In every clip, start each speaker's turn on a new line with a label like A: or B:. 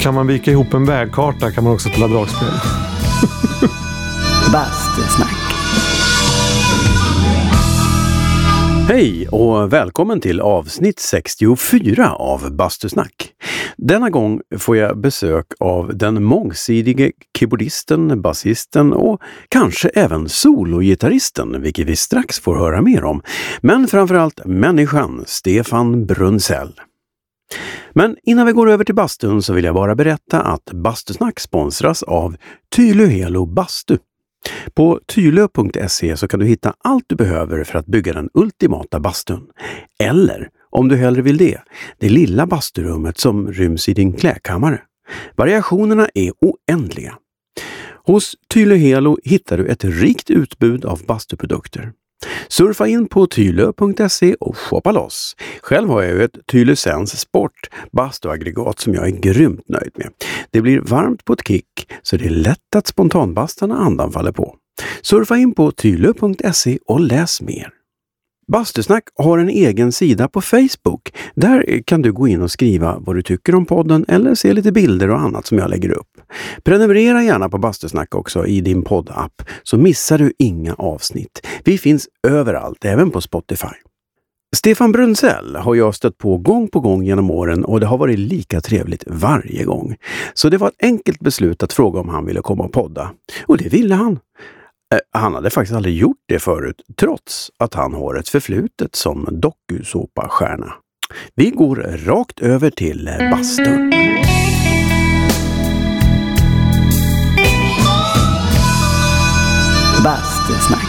A: Kan man vika ihop en vägkarta kan man också spela dragspel.
B: Bastusnack.
C: Hej och välkommen till avsnitt 64 av Bastusnack. Denna gång får jag besök av den mångsidige keyboardisten, basisten och kanske även sologitarristen, vilket vi strax får höra mer om. Men framförallt människan Stefan Brunsell. Men innan vi går över till bastun så vill jag bara berätta att Bastusnack sponsras av Tyluhelo Bastu. På tylö.se så kan du hitta allt du behöver för att bygga den ultimata bastun. Eller, om du hellre vill det, det lilla basturummet som ryms i din kläkammare. Variationerna är oändliga. Hos Tylö Helo hittar du ett rikt utbud av bastuprodukter. Surfa in på tylö.se och shoppa loss. Själv har jag ju ett Tylösens Sport bastuaggregat som jag är grymt nöjd med. Det blir varmt på ett kick, så det är lätt att spontanbasta när andan faller på. Surfa in på tylö.se E och läs mer. Bastusnack har en egen sida på Facebook. Där kan du gå in och skriva vad du tycker om podden eller se lite bilder och annat som jag lägger upp. Prenumerera gärna på Bastusnack också i din poddapp så missar du inga avsnitt. Vi finns överallt, även på Spotify. Stefan Brunsell har jag stött på gång på gång genom åren och det har varit lika trevligt varje gång. Så det var ett enkelt beslut att fråga om han ville komma och podda. Och det ville han. Eh, Han hade faktiskt aldrig gjort det förut, trots att han har ett förflutet som dokusåpastjärna. Vi går rakt över till bastun.
B: Bastusnack.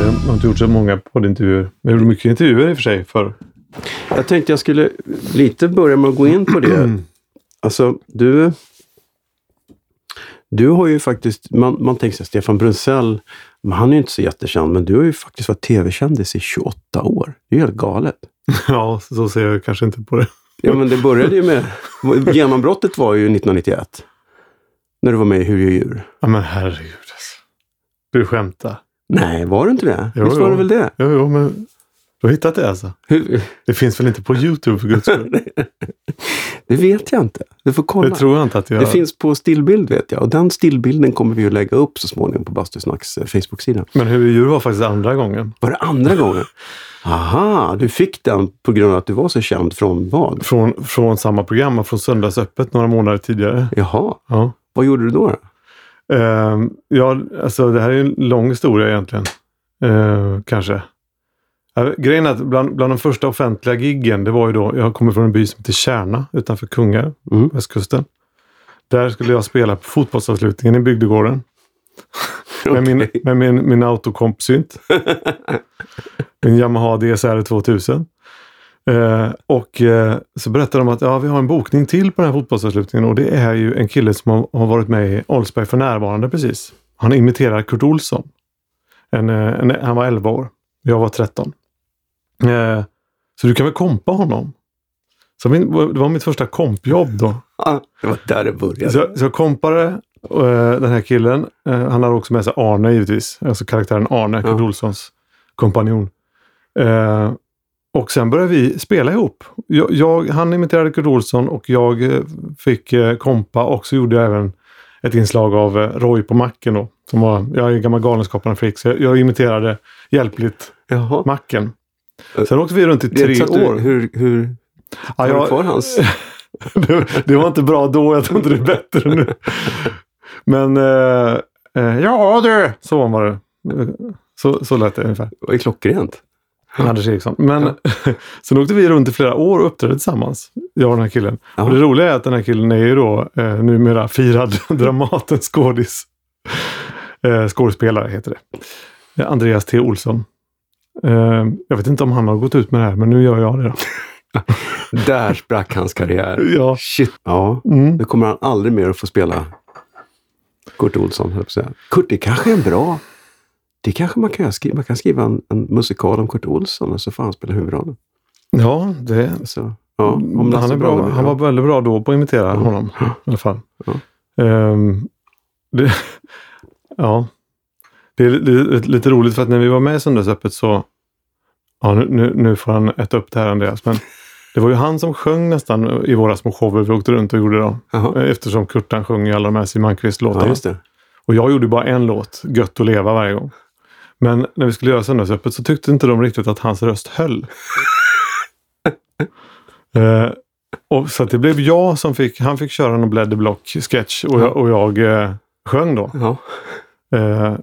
A: Jag har inte gjort så många poddintervjuer. Men jag gjorde mycket intervjuer i och för sig för
C: Jag tänkte jag skulle lite börja med att gå in på det. Alltså, du... Du har ju faktiskt... Man, man tänker sig Stefan Brunsell, men han är ju inte så jättekänd, men du har ju faktiskt varit tv-kändis i 28 år. Det är ju helt galet.
A: Ja, så ser jag kanske inte på det.
C: Ja, men det började ju med... Genombrottet var ju 1991. När du var med i Hur gör djur?
A: Ja, men herregud alltså. Du skämtar.
C: Nej, var det inte det?
A: Jo,
C: Visst var
A: jo.
C: det väl det?
A: Jo, jo, men du har hittat det alltså?
C: Hur?
A: Det finns väl inte på YouTube för guds skull?
C: Det vet jag inte. Du får kolla.
A: Det tror jag inte att jag...
C: Det finns på stillbild vet jag och den stillbilden kommer vi att lägga upp så småningom på Bastusnacks eh, Facebook-sida.
A: Men hur djur var faktiskt andra gången.
C: Var det andra gången? Aha, du fick den på grund av att du var så känd från vad?
A: Från, från samma program, från Söndagsöppet några månader tidigare.
C: Jaha,
A: Ja.
C: vad gjorde du då? då?
A: Ehm, ja, alltså det här är ju en lång historia egentligen. Ehm, kanske. Ja, Grejen är att bland, bland de första offentliga giggen, det var ju då, jag kommer från en by som heter Kärna utanför Kungälv,
C: Mm.
A: västkusten. Där skulle jag spela på fotbollsavslutningen i bygdegården. Med min, med min, min autokompsynt. min Yamaha DSR 2000. Eh, och eh, så berättade de att ja, vi har en bokning till på den här fotbollsavslutningen och det är ju en kille som har, har varit med i Oldsberg för närvarande precis. Han imiterar Kurt Olsson. En, eh, en, han var 11 år. Jag var 13. Eh, så du kan väl kompa honom? Så min, det var mitt första kompjobb då.
C: Ah, det var där det började.
A: Så, så jag kompade eh, den här killen. Eh, han hade också med sig Arne givetvis. Alltså karaktären Arne, Kurt
C: Ja.
A: Olssons kompanjon. Eh, och sen började vi spela ihop. Jag, jag, han imiterade Kurt Olsson och jag eh, fick eh, kompa och så gjorde jag även ett inslag av eh, Roy på macken. Då, som var, jag är gammal Galenskaparna-freak, så jag, jag imiterade hjälpligt
C: Jaha.
A: macken. Sen åkte vi runt i
C: Eh, Det är
A: tre
C: så att du-
A: år.
C: Hur, hur
A: Ja,
C: har
A: jag-
C: du kvar hans?
A: det, det var inte bra då, jag tror inte det är bättre nu. Men eh, eh, ja du, så var det. Så, så lät det ungefär.
C: Det var ju klockrent.
A: Anders Eriksson. Men sen åkte vi runt i flera år och uppträdde tillsammans, jag och den här killen.
C: Ja.
A: Och det roliga är att den här killen är ju då eh, numera firad Dramatens skådis. Eh, skådespelare heter det. Eh, Andreas T. Olsson. Eh, jag vet inte om han har gått ut med det här, men nu gör jag det. Då.
C: Där sprack hans karriär.
A: Ja.
C: Shit. Ja,
A: Mm.
C: nu kommer han aldrig mer att få spela Kurt Olsson, höll jag på att säga. Kurt, det kanske är en bra... Det kanske man kan skriva. Man kan skriva en, en musikal om Kurt Olsson och så får han spela huvudrollen.
A: ja, det,
C: Så, ja, om
A: Mm, han,
C: Lasse
A: är bra,
C: Brage-
A: han var väldigt bra då på att imitera honom. I alla fall.
C: Ja.
A: Ehm, det, ja. det är lite, lite roligt för att när vi var med i Söndagsöppet så... Ja, nu, nu, nu får han äta upp det här Andreas, men Det var ju han som sjöng nästan i våra små shower vi åkte runt och gjorde dem.
C: Jaha.
A: Eftersom Kurtan sjöng i alla de här Siw
C: Ja,
A: Malmkvist-låtarna.
C: just det.
A: och jag gjorde bara en låt, Gött att leva, varje gång. Men när vi skulle göra Söndagsöppet så tyckte inte de riktigt att hans röst höll. eh, och så att det blev jag som fick, han fick köra någon Bledder Block-sketch och jag, och jag eh, sjöng då.
C: Ja.
A: Eh,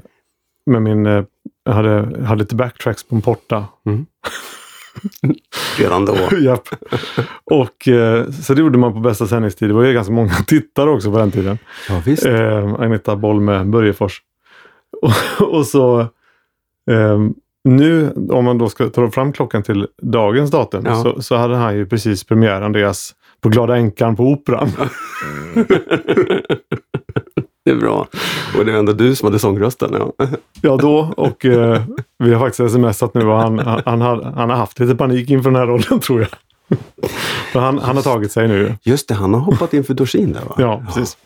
A: med min, eh, jag hade, hade lite backtracks på en porta.
C: Redan då.
A: Japp. Och, eh, så det gjorde man på bästa sändningstid. Det var ju ganska många tittare också på den tiden.
C: Ja, visst.
A: Eh, Agneta Boll med Börjefors. Och, och så eh, nu, om man då ska ta fram klockan till dagens datum,
C: Ja.
A: så, så hade han ju precis premiär, Andreas, på Glada Änkan på Operan.
C: Det är bra. Och det var ändå du som hade sångrösten. Ja.
A: Ja, då och eh, vi har faktiskt smsat nu och han, han, han, har, han har haft lite panik inför den här rollen tror jag. För han, han har tagit sig nu.
C: Just det, han har hoppat in för Dorsin där va?
A: Ja, precis.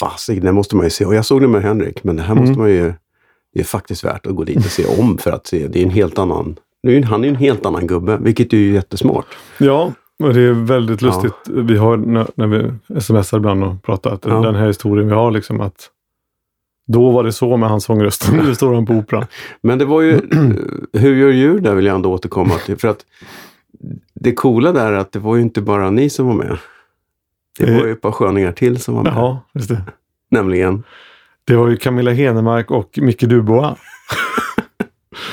C: Fasig, det måste man ju se. Och jag såg det med Henrik, men det här måste man ju... Det är faktiskt värt att gå dit och se om för att se. Det är en helt annan... Nu är ju- han är ju en helt annan gubbe, vilket är ju jättesmart.
A: Ja, och det är väldigt lustigt. Vi har när, när vi smsar ibland och pratar att
C: Ja.
A: den här historien vi har liksom att då var det så med hans sångröst. Nu står han på Operan.
C: Men det var ju... hur gör djur där vill jag ändå återkomma till. För att det coola där är att det var ju inte bara ni som var med. Det var ju ett par sköningar till som var med.
A: Ja, just det.
C: Nämligen
A: Det var ju Camilla Henemark och Micke Dubois.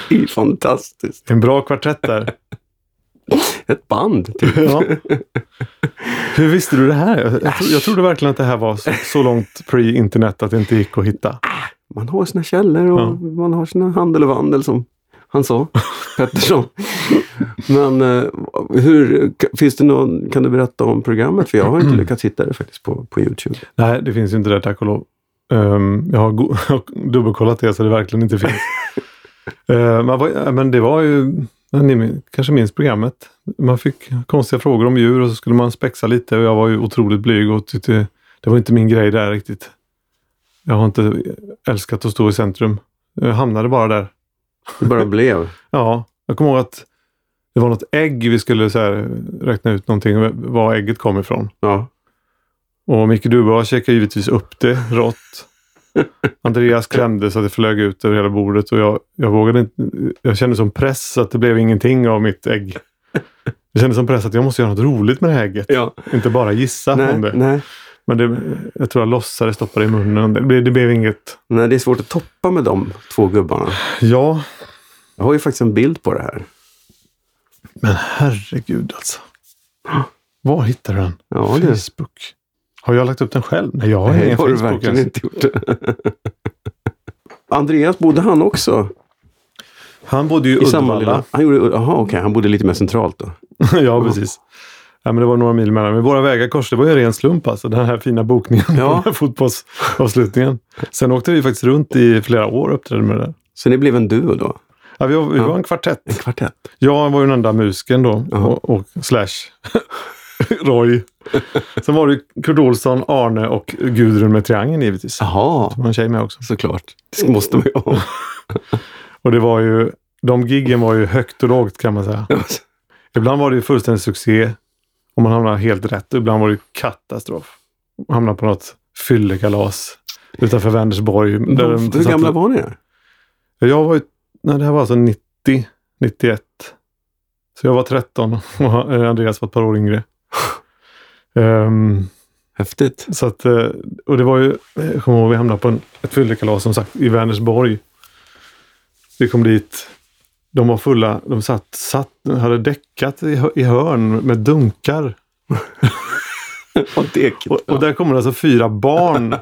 C: det är ju fantastiskt.
A: En bra kvartett där.
C: Ett band, typ.
A: Ja. Hur visste du det här? Jag, jag, tro- jag trodde verkligen att det här var så, så långt pre-internet att det inte gick att hitta.
C: Man har sina källor och
A: Ja.
C: man har sina handel och vandel som han sa, Pettersson. Men eh, hur, k- finns det någon, kan du berätta om programmet? För jag har inte
A: Mm.
C: lyckats hitta det faktiskt på, på Youtube.
A: Nej, det finns ju inte där tack och lov. Ehm, jag har go- jag har dubbelkollat det så det verkligen inte finns. Ehm, man var, men det var ju, ja, ni min- kanske minns programmet. Man fick konstiga frågor om djur och så skulle man spexa lite och jag var ju otroligt blyg och tyckte det var inte min grej där riktigt. Jag har inte älskat att stå i centrum. Jag hamnade bara där.
C: Det bara blev.
A: Ja, jag kommer ihåg att det var något ägg vi skulle så här, räkna ut någonting, var ägget kom ifrån.
C: Ja.
A: Och Micke Dubois käkade givetvis upp det rått. Andreas klämde så att det flög ut över hela bordet och jag, jag vågade inte. Jag kände som press att det blev ingenting av mitt ägg. Jag kände som press att jag måste göra något roligt med det här ägget.
C: ja.
A: Inte bara gissa
C: Nej,
A: om det.
C: nej,
A: Men det, jag tror jag låtsades stoppa det i munnen. Det blev, det blev inget.
C: nej, det är svårt att toppa med de två gubbarna.
A: Ja,
C: Jag har ju faktiskt en bild på det här.
A: men herregud alltså. Var hittar du den?
C: Ja, det
A: Facebook. Har jag lagt upp den själv? Nej, jag har
C: Nej,
A: ingen
C: har du
A: Facebook. alltså.
C: verkligen
A: ens.
C: inte gjort. Andreas, bodde han också
A: Han bodde ju i
C: i samma
A: Uddevalla.
C: lilla... Han gjorde... Jaha, okej. Han bodde lite mer centralt då.
A: ja, precis. Ja, men det var några mil mellan. Men våra vägar korsade. Det var ju en ren slump alltså. Den här fina bokningen.
C: Ja.
A: Ja. Den här fotbollsavslutningen. Sen åkte vi faktiskt runt i flera år och uppträdde med det där.
C: Så ni blev en duo då?
A: Ja, vi var, vi
C: Ja.
A: var en kvartett.
C: En kvartett?
A: Jag var ju den enda musiken då.
C: Jaha.
A: Och, och slash Roy. Sen var det ju Kurt Olsson, Arne och Gudrun med triangeln givetvis.
C: Jaha,
A: Det var en tjej med också.
C: såklart. Det måste man ju ha.
A: Och det var ju... De giggen var ju högt och lågt kan man säga. Ibland var det ju fullständig succé och man hamnade helt rätt. Ibland var det ju katastrof. Man hamnade på något fyllekalas utanför Vänersborg. Där de
C: Hur
A: satte-
C: gamla var ni då?
A: Jag var ju... Nej, det här var alltså 90, 91. Så jag var 13 och eh, Andreas var ett par år yngre. Ehm,
C: Häftigt.
A: så att, eh, och det var ju, jag kommer ihåg, vi hamnade på en, ett fyllekalas som sagt i Vänersborg. Vi kom dit. De var fulla. De satt, satt hade däckat i, hö- i hörn med dunkar.
C: Och deket.
A: Och, och där kommer alltså fyra barn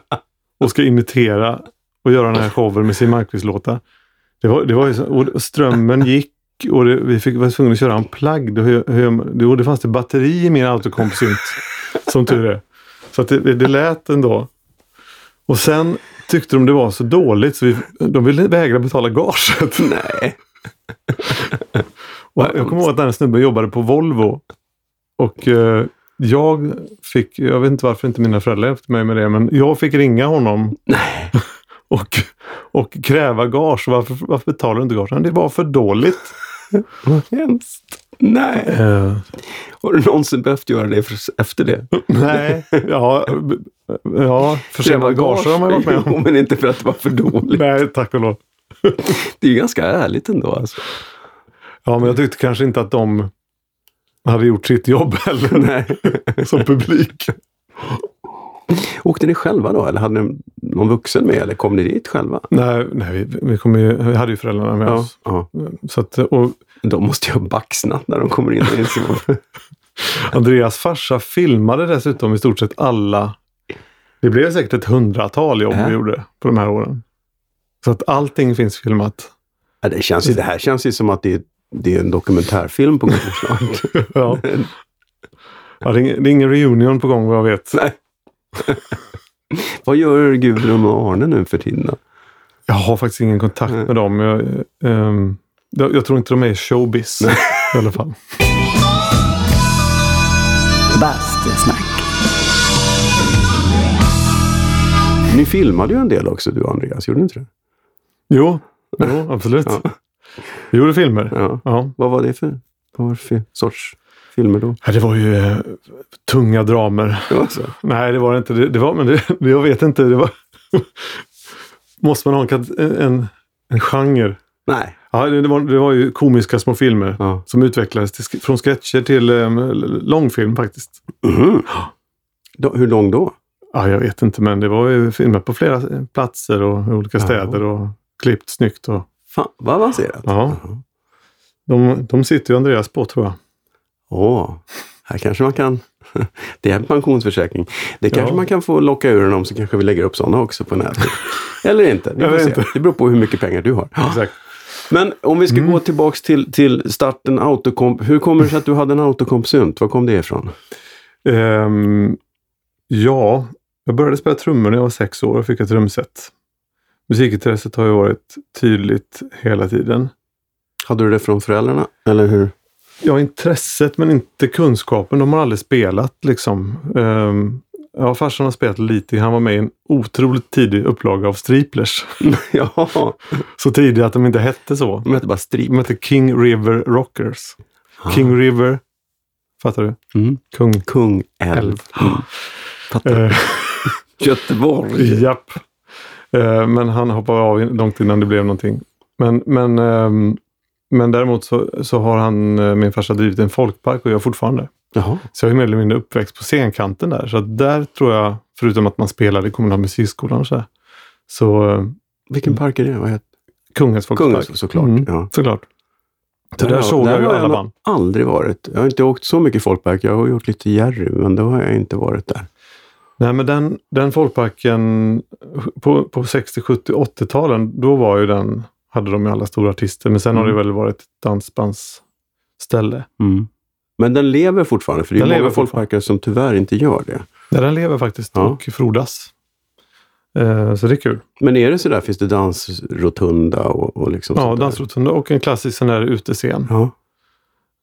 A: och ska imitera och göra den här showen med sin Malmkvist-låtar. Det var, det var ju så, och strömmen gick och det, vi fick, var tvungna att köra en plagg. Hur, hur, det, det fanns det batteri i min autokompsynt, som tur är. Så att det, det, det lät ändå. Och sen tyckte de det var så dåligt så vi, de ville vägra betala gaget.
C: Nej.
A: Och jag kommer ihåg att den här snubben jobbade på Volvo. Och eh, jag fick, jag vet inte varför inte mina föräldrar hjälpte mig med det, men jag fick ringa honom. och, och kräva gage. Varför, varför betalar du inte gage? "Men Det var för dåligt.
C: Hemskt. Nej.
A: Eh,
C: Har du någonsin behövt göra det för- efter det?
A: Nej, ja, b- ja försenade gager har man varit med
C: Jo,
A: om.
C: men inte för att det var för dåligt.
A: Nej, tack och lov.
C: Det är ju ganska ärligt ändå. Alltså.
A: Ja, men jag tyckte kanske inte att de hade gjort sitt jobb heller
C: Nej.
A: som publik.
C: Åkte ni själva då? Eller hade ni någon vuxen med? Eller kom ni dit själva?
A: Nej, nej vi, vi, kom ju, vi hade ju föräldrarna med oss.
C: ja.
A: Så att, och
C: De måste ju ha baxnat när de kommer in. i en sån-
A: Andreas farsa filmade dessutom i stort sett alla. Det blev säkert ett hundratal jobb
C: Ja.
A: vi gjorde på de här åren. Så att allting finns filmat.
C: ja, det, känns ju, det här känns ju som att det är, det är en dokumentärfilm på gång snart.
A: Ja. Ja, det, är ingen, det är ingen reunion på gång vad jag vet.
C: Nej. Vad gör Gudrun och Arne nu för tiden? då?
A: Jag har faktiskt ingen kontakt
C: Nej.
A: med dem. Jag, ehm, jag, jag tror inte de är i showbiz i alla fall.
B: Bastusnack.
C: Ni filmade ju en del också, du och Andreas. Gjorde ni inte det?
A: Jo, jo absolut.
C: Ja.
A: Vi gjorde filmer.
C: Ja.
A: Ja.
C: Vad var det för, vad var det för sorts filmer då?
A: Ja, det var ju eh, tunga dramer.
C: Det var så.
A: Nej, det var det inte. Det, det var, men det, jag vet inte. Det var... Måste man ha en, kat- en, en genre?
C: Nej.
A: Ja, det, det, var, det var ju komiska små filmer
C: Ja.
A: som utvecklades till, sk- från sketcher till um, långfilm faktiskt.
C: Mhm. Då, hur lång då?
A: Ja, jag vet inte, men det var ju filmat på flera eh, platser och i olika städer och klippt snyggt. Och,
C: Fan, vad avancerat.
A: ja. de, de sitter ju Andreas på tror jag.
C: Åh, här kanske man kan... Det är en pensionsförsäkring. Det kanske
A: Ja.
C: man kan få locka ur honom så kanske vi lägger upp sådana också på nätet. Eller inte. Vi
A: Jag
C: får
A: vet
C: se.
A: inte.
C: Det beror på hur mycket pengar du har.
A: Exakt. Mm.
C: Men om vi ska gå tillbaks till, till starten autokomp. Hur kommer det sig att du hade en autokompsynt? Var kom det ifrån?
A: Ehm, ja, jag började spela trummor när jag var sex år och fick ett trumset. Musikintresset har ju varit tydligt hela tiden.
C: Hade du det från föräldrarna? Eller hur?
A: Ja, intresset men inte kunskapen. De har aldrig spelat liksom. Um, ja, farsan har spelat lite. Han var med i en otroligt tidig upplaga av Striplers.
C: ja,
A: Så tidig att de inte hette så.
C: de hette bara Strip.
A: De hette King River Rockers. King River. Fattar du?
C: Mm.
A: Kung.
C: Kung Älv.
A: Älv.
C: Mm. Fattar.
A: Eh,
C: Göteborg.
A: Japp. Eh, Men han hoppade av in- långt innan det blev någonting. Men, men, ehm, men däremot så, så har han, eh, min farsa drivit en folkpark och jag fortfarande.
C: Jaha.
A: Så jag är mer eller mindre uppväxt på scenkanten där. Så att där tror jag, förutom att man spelade i kommunala musikskolan och så, här, så eh,
C: Vilken park är det? Vad heter
A: Kungens folkpark.
C: Kungen Mm. såklart.
A: Mm,
C: Ja.
A: Såklart. Så där såg jag ju alla
C: nog
A: band.
C: aldrig varit. Jag har inte åkt så mycket folkpark. Jag har gjort lite Jerry, men då har jag inte varit där.
A: Nej, men den, den folkparken på, på 60, 70, 80-talen, då var ju den, hade de ju alla stora artister. Men sen har
C: Mm.
A: det väl varit ett dansbandsställe.
C: Men den lever fortfarande, för det är
A: Den
C: ju många
A: lever
C: folkparker som tyvärr inte gör det.
A: Ja, den lever faktiskt
C: Ja.
A: och frodas. Eh, så det är kul.
C: Men är det så där, finns det dansrotunda och, och liksom
A: Ja,
C: sånt där?
A: dansrotunda och en klassisk sån där utescen.
C: Ja,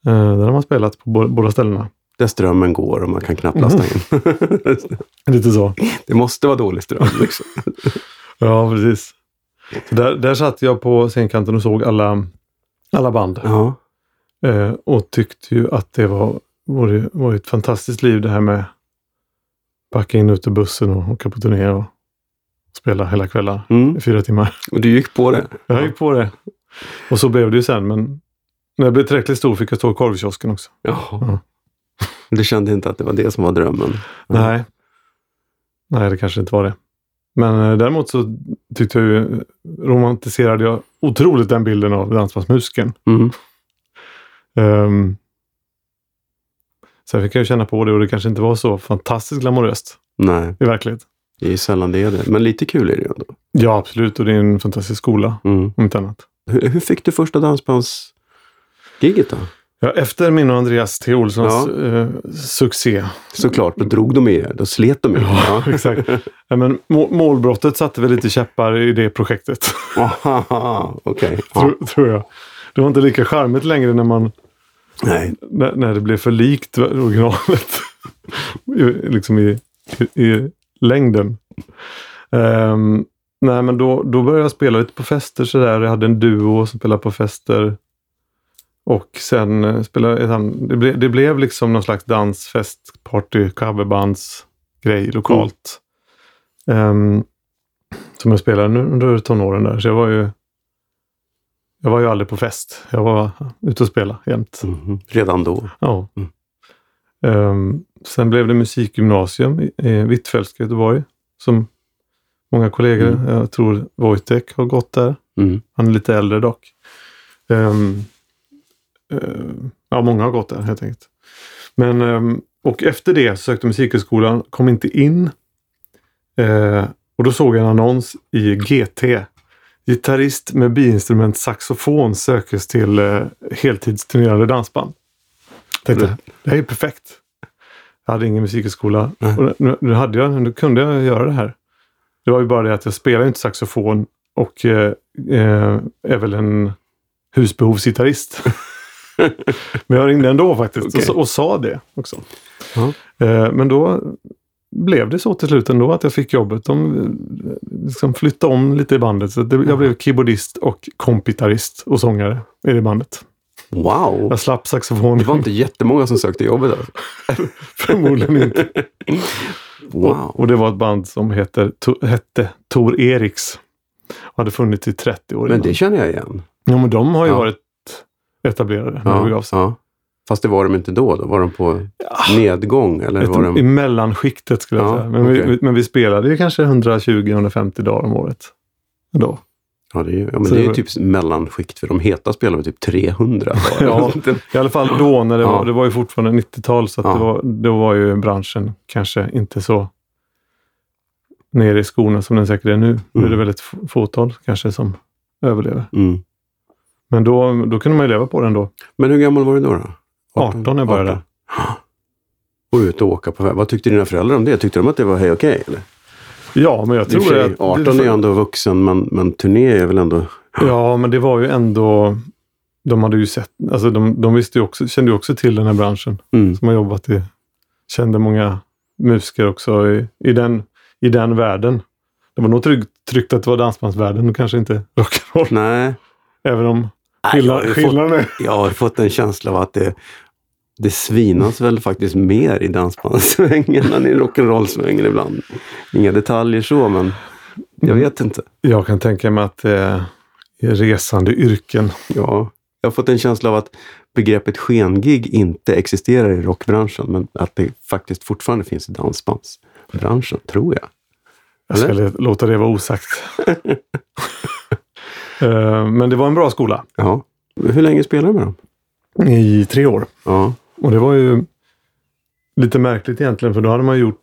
A: Eh, där har man spelat på bå- båda ställena.
C: där strömmen går och man kan knappt lasta in.
A: Lite så.
C: det måste vara dålig ström. Liksom.
A: Ja, precis. Så där, där satt jag på scenkanten och såg alla, alla band.
C: Ja.
A: Eh, och tyckte ju att det var, var, det, var ett fantastiskt liv det här med backa in ut ur bussen och åka på turné och spela hela kvällar
C: Mm.
A: i fyra timmar.
C: Och du gick på det?
A: Jag gick på det. Och så blev det ju sen, men när jag blev tillräckligt stor fick jag stå i korvkiosken också.
C: Ja. Du kände inte att det var det som var drömmen? Mm.
A: Nej. Nej, det kanske inte var det. Men eh, däremot så tyckte jag ju, romantiserade jag otroligt den bilden av dansbandsmusiken.
C: Mm.
A: Um, sen fick jag ju känna på det och det kanske inte var så fantastiskt glamoröst
C: Nej,
A: i verkligheten.
C: det är ju sällan det är det. Men lite kul är det ju ändå.
A: Ja, absolut. Och det är en fantastisk skola,
C: Mm.
A: om inte annat.
C: Hur, hur fick du första dansbandsgiget då?
A: Ja, efter min och Andreas T. Olssons
C: Ja.
A: eh, succé.
C: Såklart, då drog de i er. Då slet de i er. Ja.
A: Exakt. Ja, men må- målbrottet satte väl lite käppar i det projektet,
C: Ahaha, Okej. Ja.
A: tror, tror jag. Det var inte lika charmigt längre när, man,
C: Nej.
A: när, när det blev för likt originalet. I, liksom i, i, i längden. Ehm, nej, men då, då började jag spela lite på fester sådär. Jag hade en duo som spelade på fester. Och sen eh, spelade han, det, ble, det blev liksom någon slags dansfest, party, coverbandsgrej lokalt. Ehm, som jag spelade nu under tonåren där. Så jag var ju jag var ju aldrig på fest. Jag var ute och spelade jämt.
C: Mhm. Redan då.
A: Ja.
C: Mm.
A: Ehm, sen blev det musikgymnasium i, i Hvitfeldtska i Göteborg. Som många kollegor, jag tror Wojtek har gått där.
C: Mm.
A: Han är lite äldre dock. Ehm, ehm, ja, många har gått där helt enkelt. Men, ehm, och efter det så sökte jag Musikhögskolan, kom inte in. Eh, och då såg jag en annons i GT. Gitarrist med biinstrument saxofon sökes till eh, heltidsturnerande dansband.
C: Mm.
A: Tänkte, det här är ju perfekt. Jag hade ingen musikhögskola.
C: Nej.
A: Och nu, nu, hade jag, nu kunde jag göra det här. Det var ju bara det att jag spelar ju inte saxofon och eh, eh, är väl en husbehovsgitarrist. Men jag ringde ändå faktiskt och,
C: Okej.
A: sa- och sa det också.
C: Ja.
A: Eh, men då blev det så till slut ändå att jag fick jobbet. De eh, liksom flyttade om lite i bandet. Så det,
C: Mm.
A: jag blev keyboardist och kompitarist och sångare i det bandet.
C: Wow!
A: Jag slapp saxofon.
C: Det var inte jättemånga som sökte jobbet. Alltså.
A: Förmodligen inte.
C: Wow!
A: Och det var ett band som heter, to, hette Tor Eriks. Och hade funnits i 30 år.
C: Men
A: innan.
C: det känner jag igen.
A: ja, men de har ju
C: Ja.
A: varit etablerade när det begav
C: Ja,
A: sig.
C: ja. Fast det var de inte då? då. Var de på nedgång? Eller var
A: Ett, I
C: de...
A: mellanskiktet skulle jag
C: Ja,
A: säga. Men, vi,
C: okej.
A: men vi spelade ju kanske 120-150 dagar om året. Då.
C: Ja, det är ju ja, men
A: Så
C: det är
A: det
C: ju
A: var-
C: typ mellanskikt. För de heta spelar väl typ 300? bara.
A: Ja. I alla fall då när det
C: Ja.
A: var, det var ju fortfarande 90-tal så att
C: Ja.
A: det var, då var ju branschen kanske inte så nere i skorna som den säkert är nu. Nu är det
C: Mm.
A: väl ett f- fåtal kanske som överlever.
C: Mm.
A: Men då, då kunde man ju leva på den då.
C: Men hur gammal var du då? då?
A: 18 när jag började.
C: 18. Och ut och åka på väg. Vad tyckte dina föräldrar om det? Tyckte de att det var hej okej? eller?
A: Ja, men jag
C: I och för
A: tror
C: sig,
A: att...
C: 18 är ändå vuxen, men, men turné är väl ändå...
A: Ja, men det var ju ändå... De hade ju sett... Alltså de, de visste ju också, kände ju också till den här branschen.
C: Mm.
A: som har jobbat i, kände många musiker också i, i, den, i den världen. Det var nog tryggt, tryggt att det var dansbandsvärlden och kanske inte rock'n'roll.
C: Nej,
A: Även om
C: Nej, jag, har
A: skillnaden
C: ju fått,
A: skillnaden är...
C: jag har fått en känsla av att det, det svinas väl faktiskt mer i dansbandssvängen än i rock'n'roll-svängen ibland. Inga detaljer så, men jag vet inte.
A: Jag kan tänka mig att eh, i resande yrken.
C: Ja, jag har fått en känsla av att begreppet skengig inte existerar i rockbranschen, men att det faktiskt fortfarande finns i dansbandsbranschen, tror jag.
A: Jag ska låta det vara osagt. eh, men det var en bra skola
C: Ja. Hur länge spelar du med dem?
A: i tre år.
C: Ja.
A: Och det var ju lite märkligt egentligen, för då hade man gjort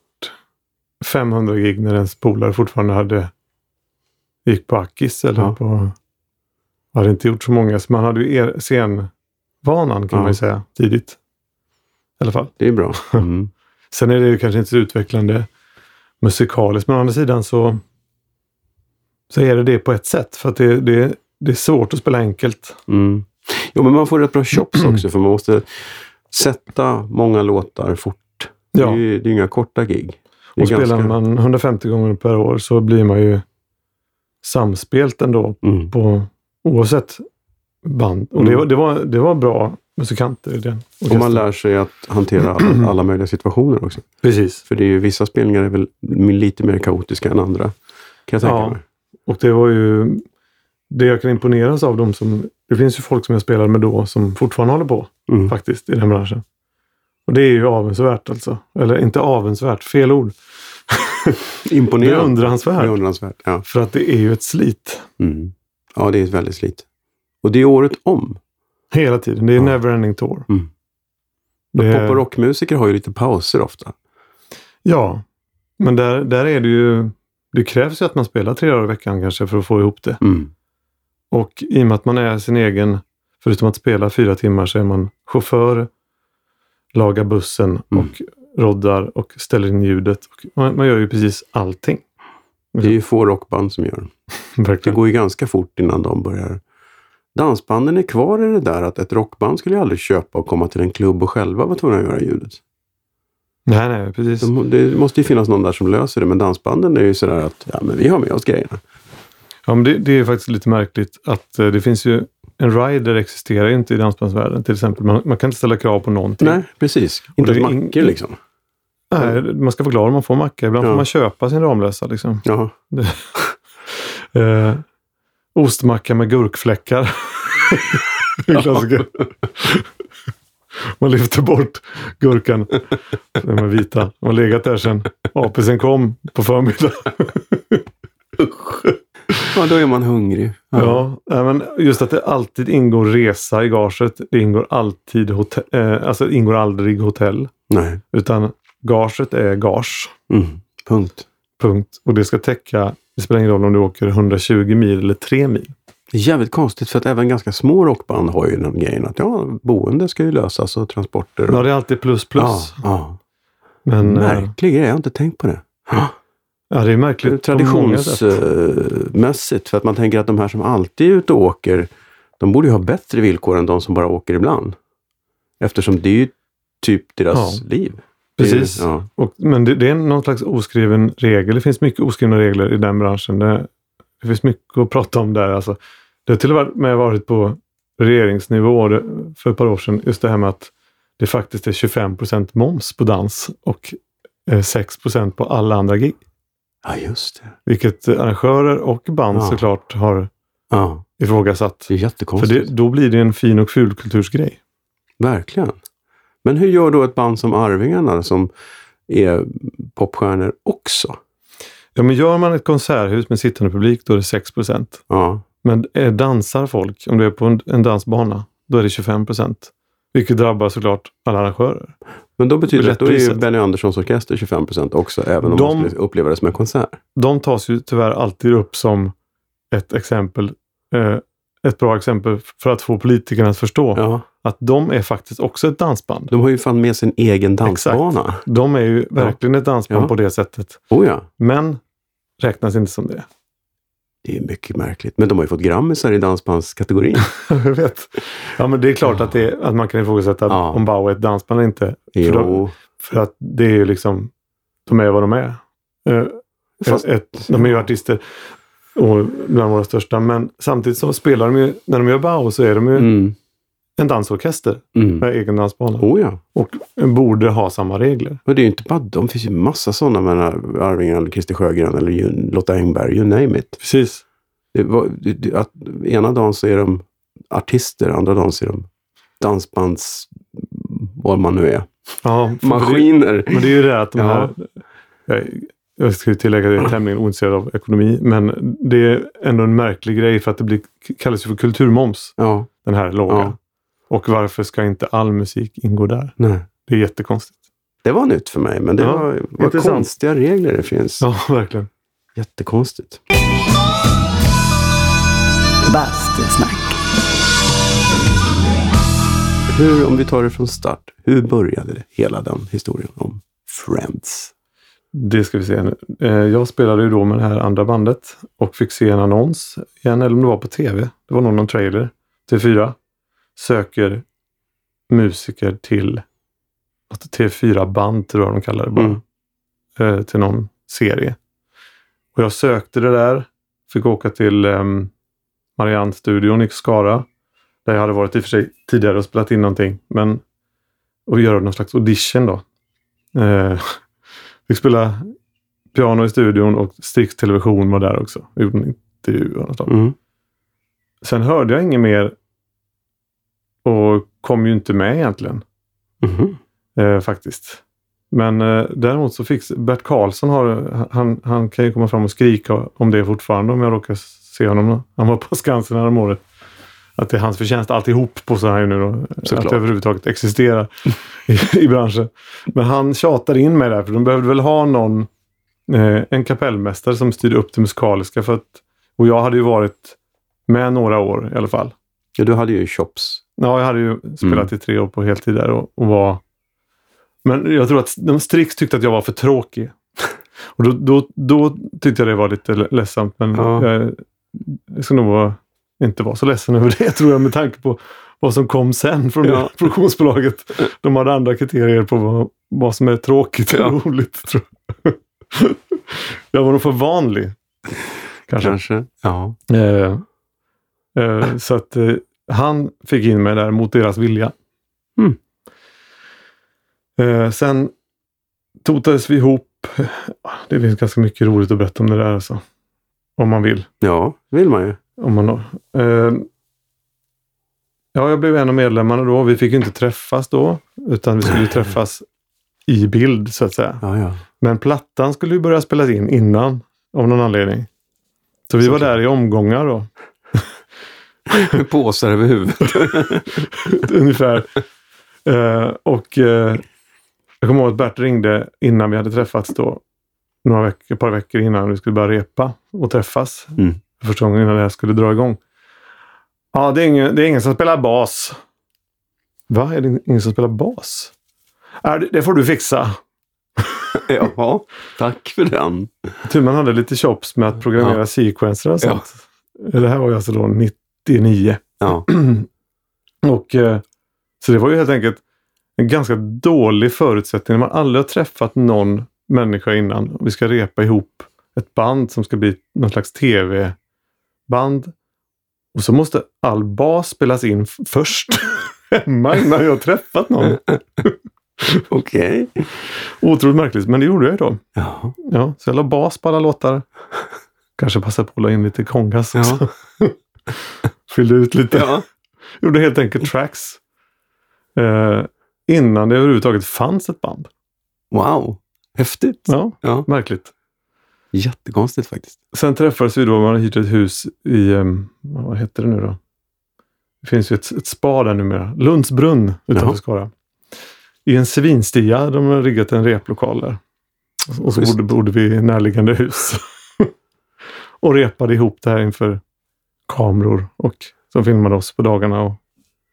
A: 500 gig när ens polare fortfarande hade gick på Akis eller
C: Ja.
A: på... Hade inte gjort så många, så man hade ju er, scenvanan kan
C: Ja.
A: man ju säga tidigt. I alla fall.
C: Det är bra. Mm.
A: Sen är det ju kanske inte så utvecklande musikaliskt, men å andra sidan så, så är det det på ett sätt. För att det, det, det är svårt att spela enkelt.
C: Mm. Jo, men man får rätt bra chops också, för man måste sätta många låtar fort. Det,
A: Ja.
C: är, ju- det är inga korta gig. Det är
A: Och spelar
C: ganska-
A: man 150 gånger per år så blir man ju samspelt ändå
C: Mm.
A: på oavsett band. Och det, var- det, var, det var bra musikanter i den
C: Och
A: orkestern.
C: Mm. man lär sig att hantera alla, alla möjliga situationer också.
A: Precis.
C: För det är ju, vissa spelningar är väl lite mer kaotiska än andra. Kan jag tänka
A: Ja.
C: mig.
A: Och det var ju det jag kan imponeras av dem som... Det finns ju folk som jag spelade med då som fortfarande håller på
C: Mm.
A: faktiskt i den branschen. Och det är ju avundsvärt alltså. Eller inte avundsvärt, fel ord.
C: Imponerande.
A: Beundransvärt.
C: Beundransvärt. Ja.
A: För att det är ju ett slit
C: Mm. ja, det är ett väldigt slit. Och det är året om.
A: hela tiden. Det är
C: Ja.
A: neverending tour.
C: Mm.
A: Det är-
C: Pop och rockmusiker har ju lite pauser ofta.
A: Ja, men där, där är det ju... Det krävs ju att man spelar tre dagar i veckan kanske för att få ihop det.
C: Mm.
A: Och i och med att man är sin egen, förutom att spela fyra timmar, så är man chaufför, lagar bussen
C: Mm.
A: och roddar och ställer in ljudet. Och man, man gör ju precis allting.
C: Det är ju få rockband som gör. Det
A: Verkligen.
C: går ju ganska fort innan de börjar. Dansbanden är kvar i det där att ett rockband skulle ju aldrig köpa och komma till en klubb och själva vara tvungna att göra ljudet.
A: Nej, nej, precis.
C: De, det måste ju finnas någon där som löser det, men dansbanden är ju sådär att ja, men vi har med oss grejerna.
A: Ja, men det, det är faktiskt lite märkligt att eh, det finns ju en rider existerar inte i dansbandsvärlden till exempel. Man, man kan inte ställa krav på någonting.
D: Nej, precis.
A: Och
D: Inte
A: det
D: ens
A: är in-
D: mackor liksom.
A: Nej, man ska vara glad om man får macka. Ibland
C: Ja.
A: får man köpa sin Ramlösa. Liksom.
C: Ja.
A: Eh, ostmacka med gurkfläckar. en klassiker. Man lyfter bort gurkan. De är vita. De har legat där sedan apelsen kom på förmiddagen.
C: ja, då är man hungrig.
A: Ja, nej, men just att det alltid ingår resa i gaget. Det ingår alltid hotell, eh, alltså det ingår aldrig hotell.
C: Nej.
A: Utan gaget är gage.
C: Mm. Punkt.
A: Punkt. Och det ska täcka, det spelar ingen roll om du åker 120 mil eller 3 mil.
C: Det är jävligt konstigt för att även ganska små rockband har ju den grejen att ja, boende ska ju lösas och transporter. Och,
A: Ja, det är alltid plus plus.
C: Ja, ja.
A: Men eh,
C: Märklig grej, jag har inte tänkt på det.
A: ja, det är märkligt. på många sätt.
C: Traditionsmässigt, eh, för att man tänker att de här som alltid är ute och åker, de borde ju ha bättre villkor än de som bara åker ibland. Eftersom det är ju typ deras
A: Ja.
C: liv.
A: Precis.
C: Det är- Ja.
A: Och, men det, det är någon slags oskriven regel. Det finns mycket oskrivna regler i den branschen. Det, det finns mycket att prata om där. Alltså, det har till och med varit på regeringsnivå det- för ett par år sedan. Just det här med att det faktiskt är 25 moms på dans och eh, 6 på alla andra gig.
C: ja, just det.
A: Vilket eh, arrangörer och band
C: Ja.
A: såklart har
C: Ja,
A: ifrågasatt.
C: det är
A: För
C: jättekonstigt.
A: det, då blir det en fin och ful kultursgrej.
C: Verkligen. Men hur gör då ett band som Arvingarna som är popstjärnor också?
A: Ja, men gör man ett konserthus med sittande publik, då är det 6
C: Ja,
A: Men eh, dansar folk, om du är på en, en dansbana, då är det 25 procent. Vilket drabbar såklart alla arrangörer.
C: Men då betyder det att då är ju
A: Biljettpriset.
C: Benny Anderssons orkester 25 procent också, även om
A: De-
C: man skulle uppleva det som en konsert.
A: De tas ju tyvärr alltid upp som ett exempel, eh, ett bra exempel för att få politikerna att förstå
C: Ja.
A: att de är faktiskt också ett dansband.
C: De har ju fan med sin egen dansbana.
A: De är ju verkligen ett dansband
C: Ja.
A: på det sättet.
C: Oh ja,
A: Men räknas inte som det.
C: det är mycket märkligt. Men de har ju fått grammisar i dansbandskategorin.
A: Jag vet. Ja, men det är klart att, det, att man kan ifrågasätta
C: Ja.
A: om Bauer är ett dansband eller inte. För, de,
C: jo,
A: för att det är ju liksom, de är vad de är. Eh,
C: fast
A: ett, de är ju artister och bland våra största. Men samtidigt så spelar de ju, när de gör Bao så är de ju
C: mm,
A: en dansorkester
C: mm.
A: med egen dansbana.
C: Oh ja.
A: Och borde ha samma regler.
C: Och det är ju inte bara de, det finns ju massa sådana. menar, Arvingarna eller Christer Sjögren eller ju- Lotta Engberg, you name it.
A: Precis.
C: Det var, det, det, att, ena dagen så är de artister, andra dagen så är de dansbands... Vad man nu är.
A: Ja, för-
C: Maskiner.
A: Men det är ju det att de
C: Ja.
A: här... Jag, jag ska ju tillägga att jag är tämligen ointresserad av ekonomi. Men det är ändå en märklig grej för att det blir, kallas ju för kulturmoms.
C: Ja,
A: Den här låga.
C: Ja.
A: Och varför ska inte all musik ingå där?
C: nej.
A: Det är jättekonstigt.
C: Det var nytt för mig, men det
A: Ja,
C: var, vad
A: intressant.
C: konstiga regler det finns.
A: Ja, verkligen.
C: Jättekonstigt.
B: Bastusnack.
C: Hur, om vi tar det från start, hur började det, hela den historien om Friends?
A: Det ska vi se nu. Eh, Jag spelade ju då med det här andra bandet och fick se en annons igen, eller om det var på tv. Det var nog någon trailer. T4 söker musiker till alltså T4-band tror jag de kallar det bara.
C: Mm.
A: Eh, Till någon serie. Och jag sökte det där. Fick åka till um, Marianne-studion i Skara. Där jag hade varit i och för sig tidigare och spelat in någonting. Men och göra någon slags audition då. Eh, fick spela piano i studion och Strix Television var där också. Vi gjorde en intervju och något sånt.
C: Mm.
A: Sen hörde jag inget mer och kom ju inte med egentligen.
C: Mhm.
A: Eh, faktiskt. Men eh, däremot så fick Bert Karlsson, har, han, han kan ju komma fram och skrika om det fortfarande om jag råkar se honom. Han var på Skansen häromåret. Att det är hans förtjänst alltihop på så här nu då. Att
C: Såklart.
A: det överhuvudtaget existerar i, i branschen. Men han tjatade in mig där för de behövde väl ha någon, eh, en kapellmästare som styrde upp det musikaliska. För att, och jag hade ju varit med några år i alla fall.
C: Ja, du hade ju Chops.
A: Ja, jag hade ju
C: Mm.
A: spelat i tre år på heltid där och, och var... Men jag tror att de Strix tyckte att jag var för tråkig. Och då, då, då tyckte jag det var lite le- ledsamt, men
C: Ja.
A: jag, jag ska nog vara, inte vara så ledsen över det tror jag med tanke på vad som kom sen från det
C: Ja.
A: produktionsbolaget. De hade andra kriterier på vad, vad som är tråkigt och roligt. Tror jag. jag var nog för vanlig. Kanske.
C: Kanske. Ja.
A: Eh, eh, så att eh, Han fick in mig där mot deras vilja.
D: Mm.
A: Eh, sen totades vi ihop. Det finns ganska mycket roligt att berätta om det där alltså. Om man vill.
C: Ja, vill man ju.
A: Om man då. Eh, ja, jag blev en av medlemmarna då. Vi fick ju inte träffas då, utan vi skulle ju träffas i bild så att säga.
C: Ja, ja.
A: Men plattan skulle ju börja spelas in innan, av någon anledning. Så vi var där i omgångar då.
C: Med påsar över huvudet.
A: ungefär. Eh, och eh, jag kommer ihåg att Bert ringde innan vi hade träffats då. Några veckor, ett par veckor innan vi skulle börja repa och träffas.
C: Mm.
A: Första gången innan det här skulle dra igång. Ja, det är ingen, det är ingen som spelar bas. Va? Är det ingen som spelar bas? Äh, det- det får du fixa.
C: Jaha, tack för den.
A: Tur man hade lite chops med att programmera
C: Ja.
A: sequencer och
C: Ja.
A: sånt. Det här var ju alltså då 99.
C: Ja,
A: Och, eh, så det var ju helt enkelt en ganska dålig förutsättning. När man aldrig har träffat någon människa innan och vi ska repa ihop ett band som ska bli någon slags tv-band. Och så måste all bas spelas in f- först hemma innan jag har träffat någon.
C: okej.
A: Otroligt märkligt, men det gjorde jag ju då.
C: Ja,
A: Ja, så jag la bas på alla låtar. Kanske passa på att la in lite kongas också.
C: ja,
A: Fyllde ut lite.
C: ja.
A: gjorde helt enkelt tracks. Eh, innan det överhuvudtaget fanns ett band.
C: Wow, häftigt.
A: Ja,
C: Ja,
A: märkligt.
C: jättekonstigt faktiskt.
A: Sen träffades vi då, man hade hyrt ett hus i, ehm, vad heter det nu då? Det finns ju ett, ett spa där numera. Lundsbrunn utanför
C: Jaha.
A: Skara. I en svinstia, de har riggat en replokal där. Och så
C: Schysst.
A: bodde, bodde vi i närliggande hus. och repade ihop det här inför kameror och som filmade oss på dagarna och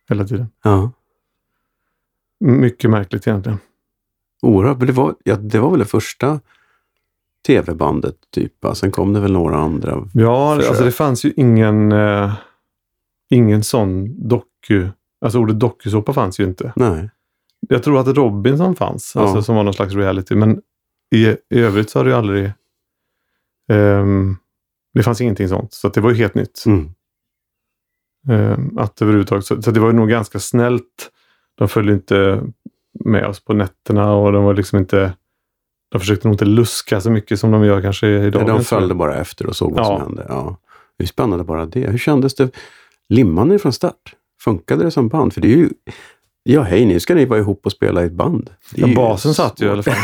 A: hela tiden.
C: Ja,
A: Mycket märkligt egentligen.
C: oerhört. Men Det var, ja, det var väl det första tv-bandet typ. va? Sen kom det väl några andra.
A: Ja,
C: försök.
A: alltså det fanns ju ingen, eh, ingen sån doku. Alltså ordet dokusåpa fanns ju inte.
C: Nej,
A: Jag tror att Robinson fanns, alltså
C: Ja.
A: som var någon slags reality. Men i, i övrigt så har det ju aldrig... ehm, det fanns ingenting sånt, så att det var ju helt nytt.
C: mm.
A: Ehm, att överhuvudtaget, så, så det var ju nog ganska snällt. De följde inte med oss på nätterna och de var liksom inte... De försökte nog inte luska så mycket som de gör kanske idag.
C: de följde bara efter och såg vad
A: Ja.
C: som hände. Ja. Det är spännande bara det. Hur kändes det? Limmade ni från start? Funkade det som band? För det är ju... Ja, hej, nu ska ni vara ihop och spela i ett band. Det är
A: Ja,
C: ju
A: basen satt ju i alla fall.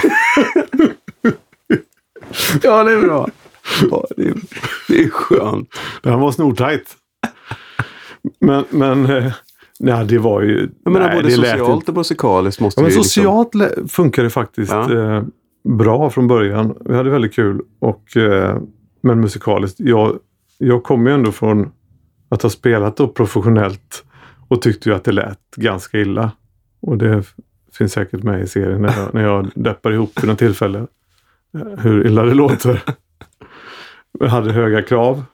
C: Ja, det är bra. Ja, det, är, det är skönt.
A: Den var snortajt. Men, men eh, nej, det var ju...
C: Jag menar,
A: nej,
C: både
A: det lät
C: socialt
A: inte-
C: och musikaliskt måste
A: Ja, men
C: vi ju liksom-
A: socialt lä- funkar det faktiskt
C: Ja.
A: eh, bra från början. Vi hade väldigt kul. Och, eh, men musikaliskt, jag, jag kommer ju ändå från att ha spelat då professionellt och tyckte ju att det lät ganska illa. Och det f- finns säkert med i serien när jag, när jag deppar ihop vid något tillfälle. eh, Hur illa det låter. Jag hade höga krav.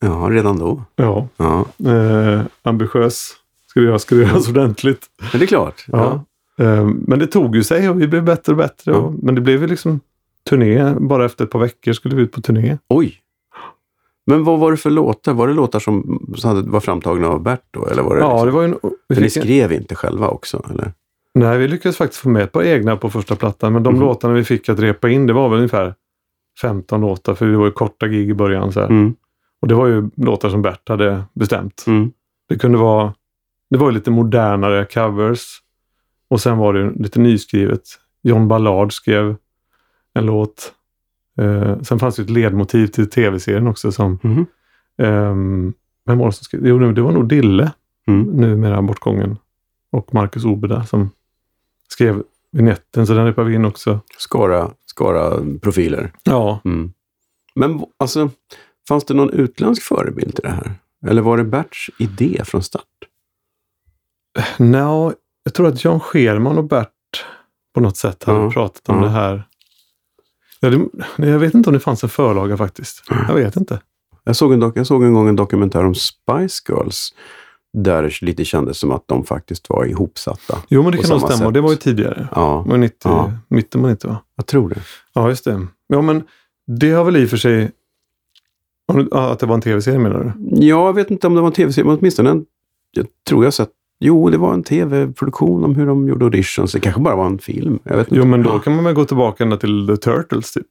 C: Ja, redan då.
A: Ja.
C: Ja.
A: eh, ambitiös. Ska det göras, ska det göras ordentligt.
C: Men det är klart.
A: Ja. Eh, men det tog ju sig och vi blev bättre och bättre.
C: Ja.
A: Och, men det blev ju liksom turné. Bara efter ett par veckor skulle vi ut på turné.
C: Oj! Men vad var det för låtar? Var det låtar som, som hade, var framtagna av Bert då? Eller var det
A: Ja,
C: liksom-
A: det var ju en, vi
C: För ni
A: fick en,
C: skrev inte själva också? Eller?
A: Nej, vi lyckades faktiskt få med ett par egna på första plattan. Men de
C: Mhm.
A: låtarna vi fick att repa in, det var väl ungefär 15 låtar. För det var ju korta gig i början. Så här.
C: Mm.
A: Och det var ju låtar som Bert hade bestämt.
C: Mm.
A: Det kunde vara... Det var ju lite modernare covers. Och sen var det ju lite nyskrivet. John Ballard skrev en låt. Eh, sen fanns det ju ett ledmotiv till tv-serien också. Som,
C: Mhm.
A: ehm, vem var det som skrev? Jo, det var nog Dille,
C: Mm.
A: numera bortgången. Och Marcus Obeda som skrev vignetten, så den repade vi in också.
C: Skara, skara profiler.
A: Ja,
C: Mm. Men v- alltså, fanns det någon utländsk förebild till det här? Eller var det Berts idé från start?
A: no, jag tror att Jan Scherman och Bert på något sätt hade
C: Ja,
A: pratat om
C: ja.
A: det här. Ja, det, nej, jag vet inte om det fanns en förlaga faktiskt. Jag vet inte.
C: Jag såg en, dok- jag såg en gång en dokumentär om Spice Girls där det lite kändes som att de faktiskt var ihopsatta.
A: Jo, men det
C: På
A: kan nog
C: samma
A: stämma.
C: sätt.
A: Det var ju tidigare.
C: Ja,
A: Det var 90,
C: Ja.
A: mitten på 90 va?
C: jag tror det.
A: Ja, just det. Ja, men det har väl i och för sig... Om du- ja, Att det var en tv-serie menar du?
C: Ja, jag vet inte om det var en tv-serie, men åtminstone en jag tror jag sett... Jo, det var en tv-produktion om hur de gjorde auditions. Det kanske bara var en film. Jag vet inte. Ah,
A: Jo, men då kan man väl gå tillbaka ända till The Turtles typ?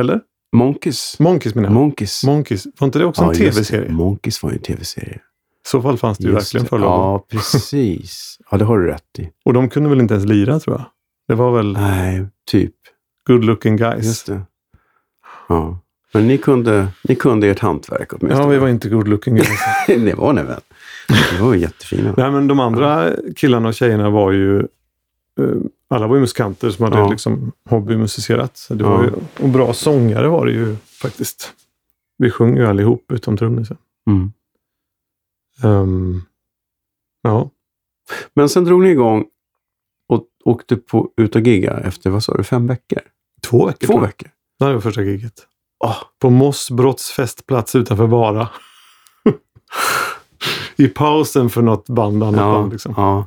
A: Eller?
C: Monkeys.
A: Monkeys menar jag.
C: Monkeys.
A: Monkeys. Var inte det också en
C: just det.
A: tv-serie? I
C: Monkeys var ju en tv-serie.
A: så fall fanns det ju
C: Just
A: verkligen
C: det.
A: förlag.
C: Ja, precis. Ja, det har du rätt i.
A: Och de kunde väl inte ens lira tror jag. Det var väl
C: Nej, typ.
A: good looking guys.
C: Just det. Ja. Men ni kunde, ni kunde ert hantverk åtminstone.
A: Ja, vi var inte good looking guys.
C: det var ni väl? Ni var ju jättefina.
A: Nej, men de andra killarna och tjejerna var ju... eh, Alla var ju musikanter som hade
C: Ja.
A: liksom hobbymusicerat. Så det var
C: Ja.
A: ju, och bra sångare var det ju faktiskt. Vi sjöng ju allihop utom trummisen.
C: Mm.
A: Ehm, ja,
C: Men sen drog ni igång och åkte på, ut och gigga efter, vad sa du, fem veckor?
A: två veckor.
C: Två
A: tror jag. Ah.
C: veckor?
A: Det här var första giget.
C: Oh,
A: På Mossbrotts festplats utanför Vara. I pausen för något band, annat
C: ja,
A: band. Liksom.
C: ja.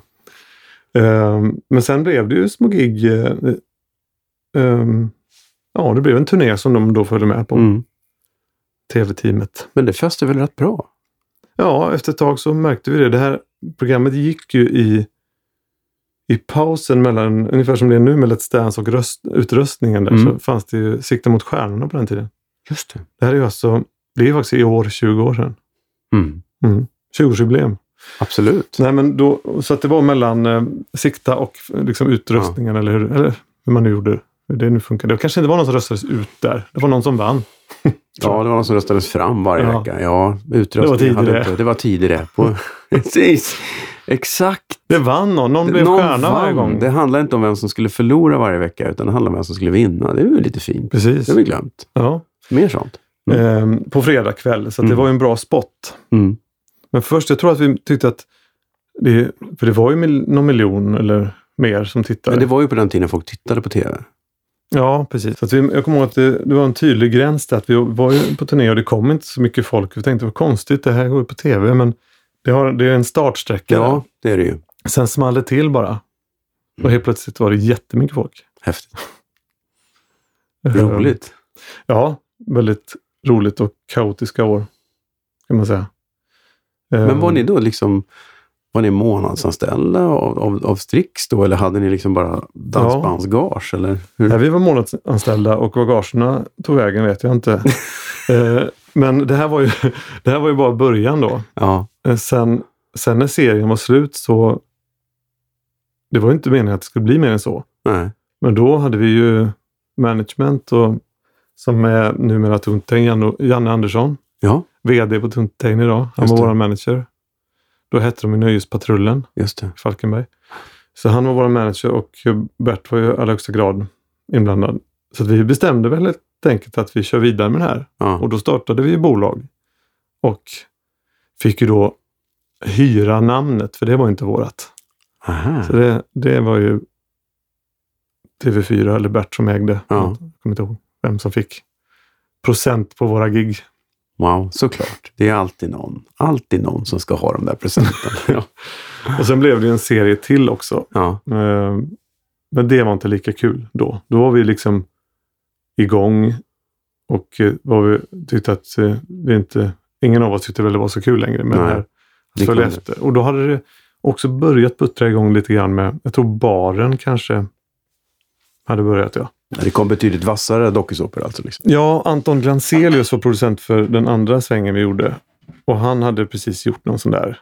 A: Ehm, men sen blev det ju små gig. eh, ehm, ja, det blev en turné som de då följde med på.
C: Mm.
A: Tv-teamet.
C: Men det föste väl rätt bra?
A: Ja, efter ett tag så märkte vi det. Det här programmet gick ju i, i pausen mellan, ungefär som det är nu med Let's Dance och röst, utröstningen där,
C: Mm.
A: så fanns det ju Sikta mot stjärnorna på den tiden.
C: Just det.
A: Det här är ju alltså, det är ju faktiskt i år 20 år sedan.
C: Mm.
A: 20-årsjubileum.
C: Absolut.
A: Nej, men då, så att det var mellan eh, sikta och eh, liksom, utröstningen eller, hur, eller hur man nu gjorde. Hur det nu funkade. Det kanske inte var någon som röstades ut där. Det var någon som vann.
C: Ja, det var någon som röstades fram varje
A: Ja.
C: vecka. Ja, utröstningen
A: Det var
C: hade
A: tidigare.
C: inte- Det var tidigare. På, precis. Exakt.
A: Det vann någon. Någon blev stjärna varje
C: vann.
A: gång.
C: Det handlar inte om vem som skulle förlora varje vecka, utan det handlar om vem som skulle vinna. Det är ju lite fint.
A: Precis.
C: Det har vi glömt.
A: Ja.
C: Mer sånt.
A: Ehm, på fredag kväll. Så att
C: Mm.
A: det var ju en bra spot.
C: Mm.
A: Men först, jag tror att vi tyckte att... Det, för det var ju mil, någon miljon eller mer som tittade.
C: Men det var ju på den tiden folk tittade på tv.
A: Ja, precis. Så att vi, jag kommer ihåg att det, det var en tydlig gräns där. Att vi var ju på turné och det kom inte så mycket folk. Vi tänkte, vad konstigt, det här går ju på tv. Men det, har, det är en startsträcka.
C: Ja, det är det ju.
A: Sen small det till bara. Och helt plötsligt var det jättemycket folk.
C: Häftigt. Roligt.
A: Ja, väldigt roligt och kaotiska år. Kan man säga. Ehm,
C: Men var ni då liksom var ni månadsanställda av, av, av Strix då, eller hade ni liksom bara dansbandsgage? Eller hur?
A: Ja, vi var månadsanställda och var gagerna tog vägen vet jag inte. Eh, Men det här, var ju, det här var ju bara början då.
C: Ja,
A: Eh, Sen, sen när serien var slut så... Det var ju inte meningen att det skulle bli mer än så.
C: nej.
A: Men då hade vi ju management och, som är numera Tuntain, Janne, Janne Andersson.
C: Ja,
A: VD på Tuntain idag. Han
C: Just
A: var
C: det.
A: vår manager. Då hette de ju Nöjespatrullen
C: just det.
A: i Falkenberg. Så han var vår manager och Bert var ju i allra högsta grad inblandad. Så att vi bestämde väl helt enkelt att vi kör vidare med det här.
C: Ja.
A: Och då startade vi bolag. Och fick ju då hyra namnet, för det var ju inte vårat.
C: Aha.
A: Så det, det var ju TV4 eller Bert som ägde.
C: Ja.
A: Jag kommer inte ihåg vem som fick procent på våra gig.
C: Wow, såklart. Det är alltid någon. Alltid någon som ska ha de där presenterna. ja.
A: Och sen blev det ju en serie till också.
C: ja,
A: Eh, Men det var inte lika kul då. Då var vi liksom igång och eh, var vi, tyckte att eh, vi inte... Ingen av oss tyckte väl det var så kul längre med
C: Nej,
A: det här
C: det
A: att följa
C: kunde.
A: efter. Och då hade det också börjat buttra igång lite grann med, jag tror baren kanske hade börjat ja.
C: det kom betydligt vassare dokusåpor alltså. Liksom.
A: Ja, Anton Glanzelius var producent för den andra svängen vi gjorde. Och han hade precis gjort någon sån där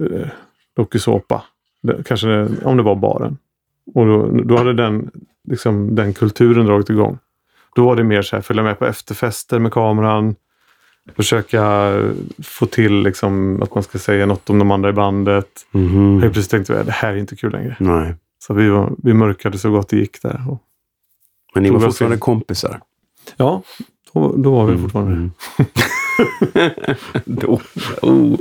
A: eh, dokusåpa. Det- Kanske det- om det var baren. Och då, då hade den, liksom, den kulturen dragit igång. Då var det mer så här, följa med på efterfester med kameran. Försöka eh, få till liksom, att man ska säga något om de andra i bandet.
C: Mhm.
A: Helt plötsligt tänkte vi det här är inte kul längre.
C: Nej,
A: Så vi, var, vi mörkade så gott det gick där. Och,
C: men ni
A: Tog
C: var
A: jag
C: fortfarande
A: fel?
C: kompisar.
A: ja, då, då var vi fortfarande
C: Då- oh.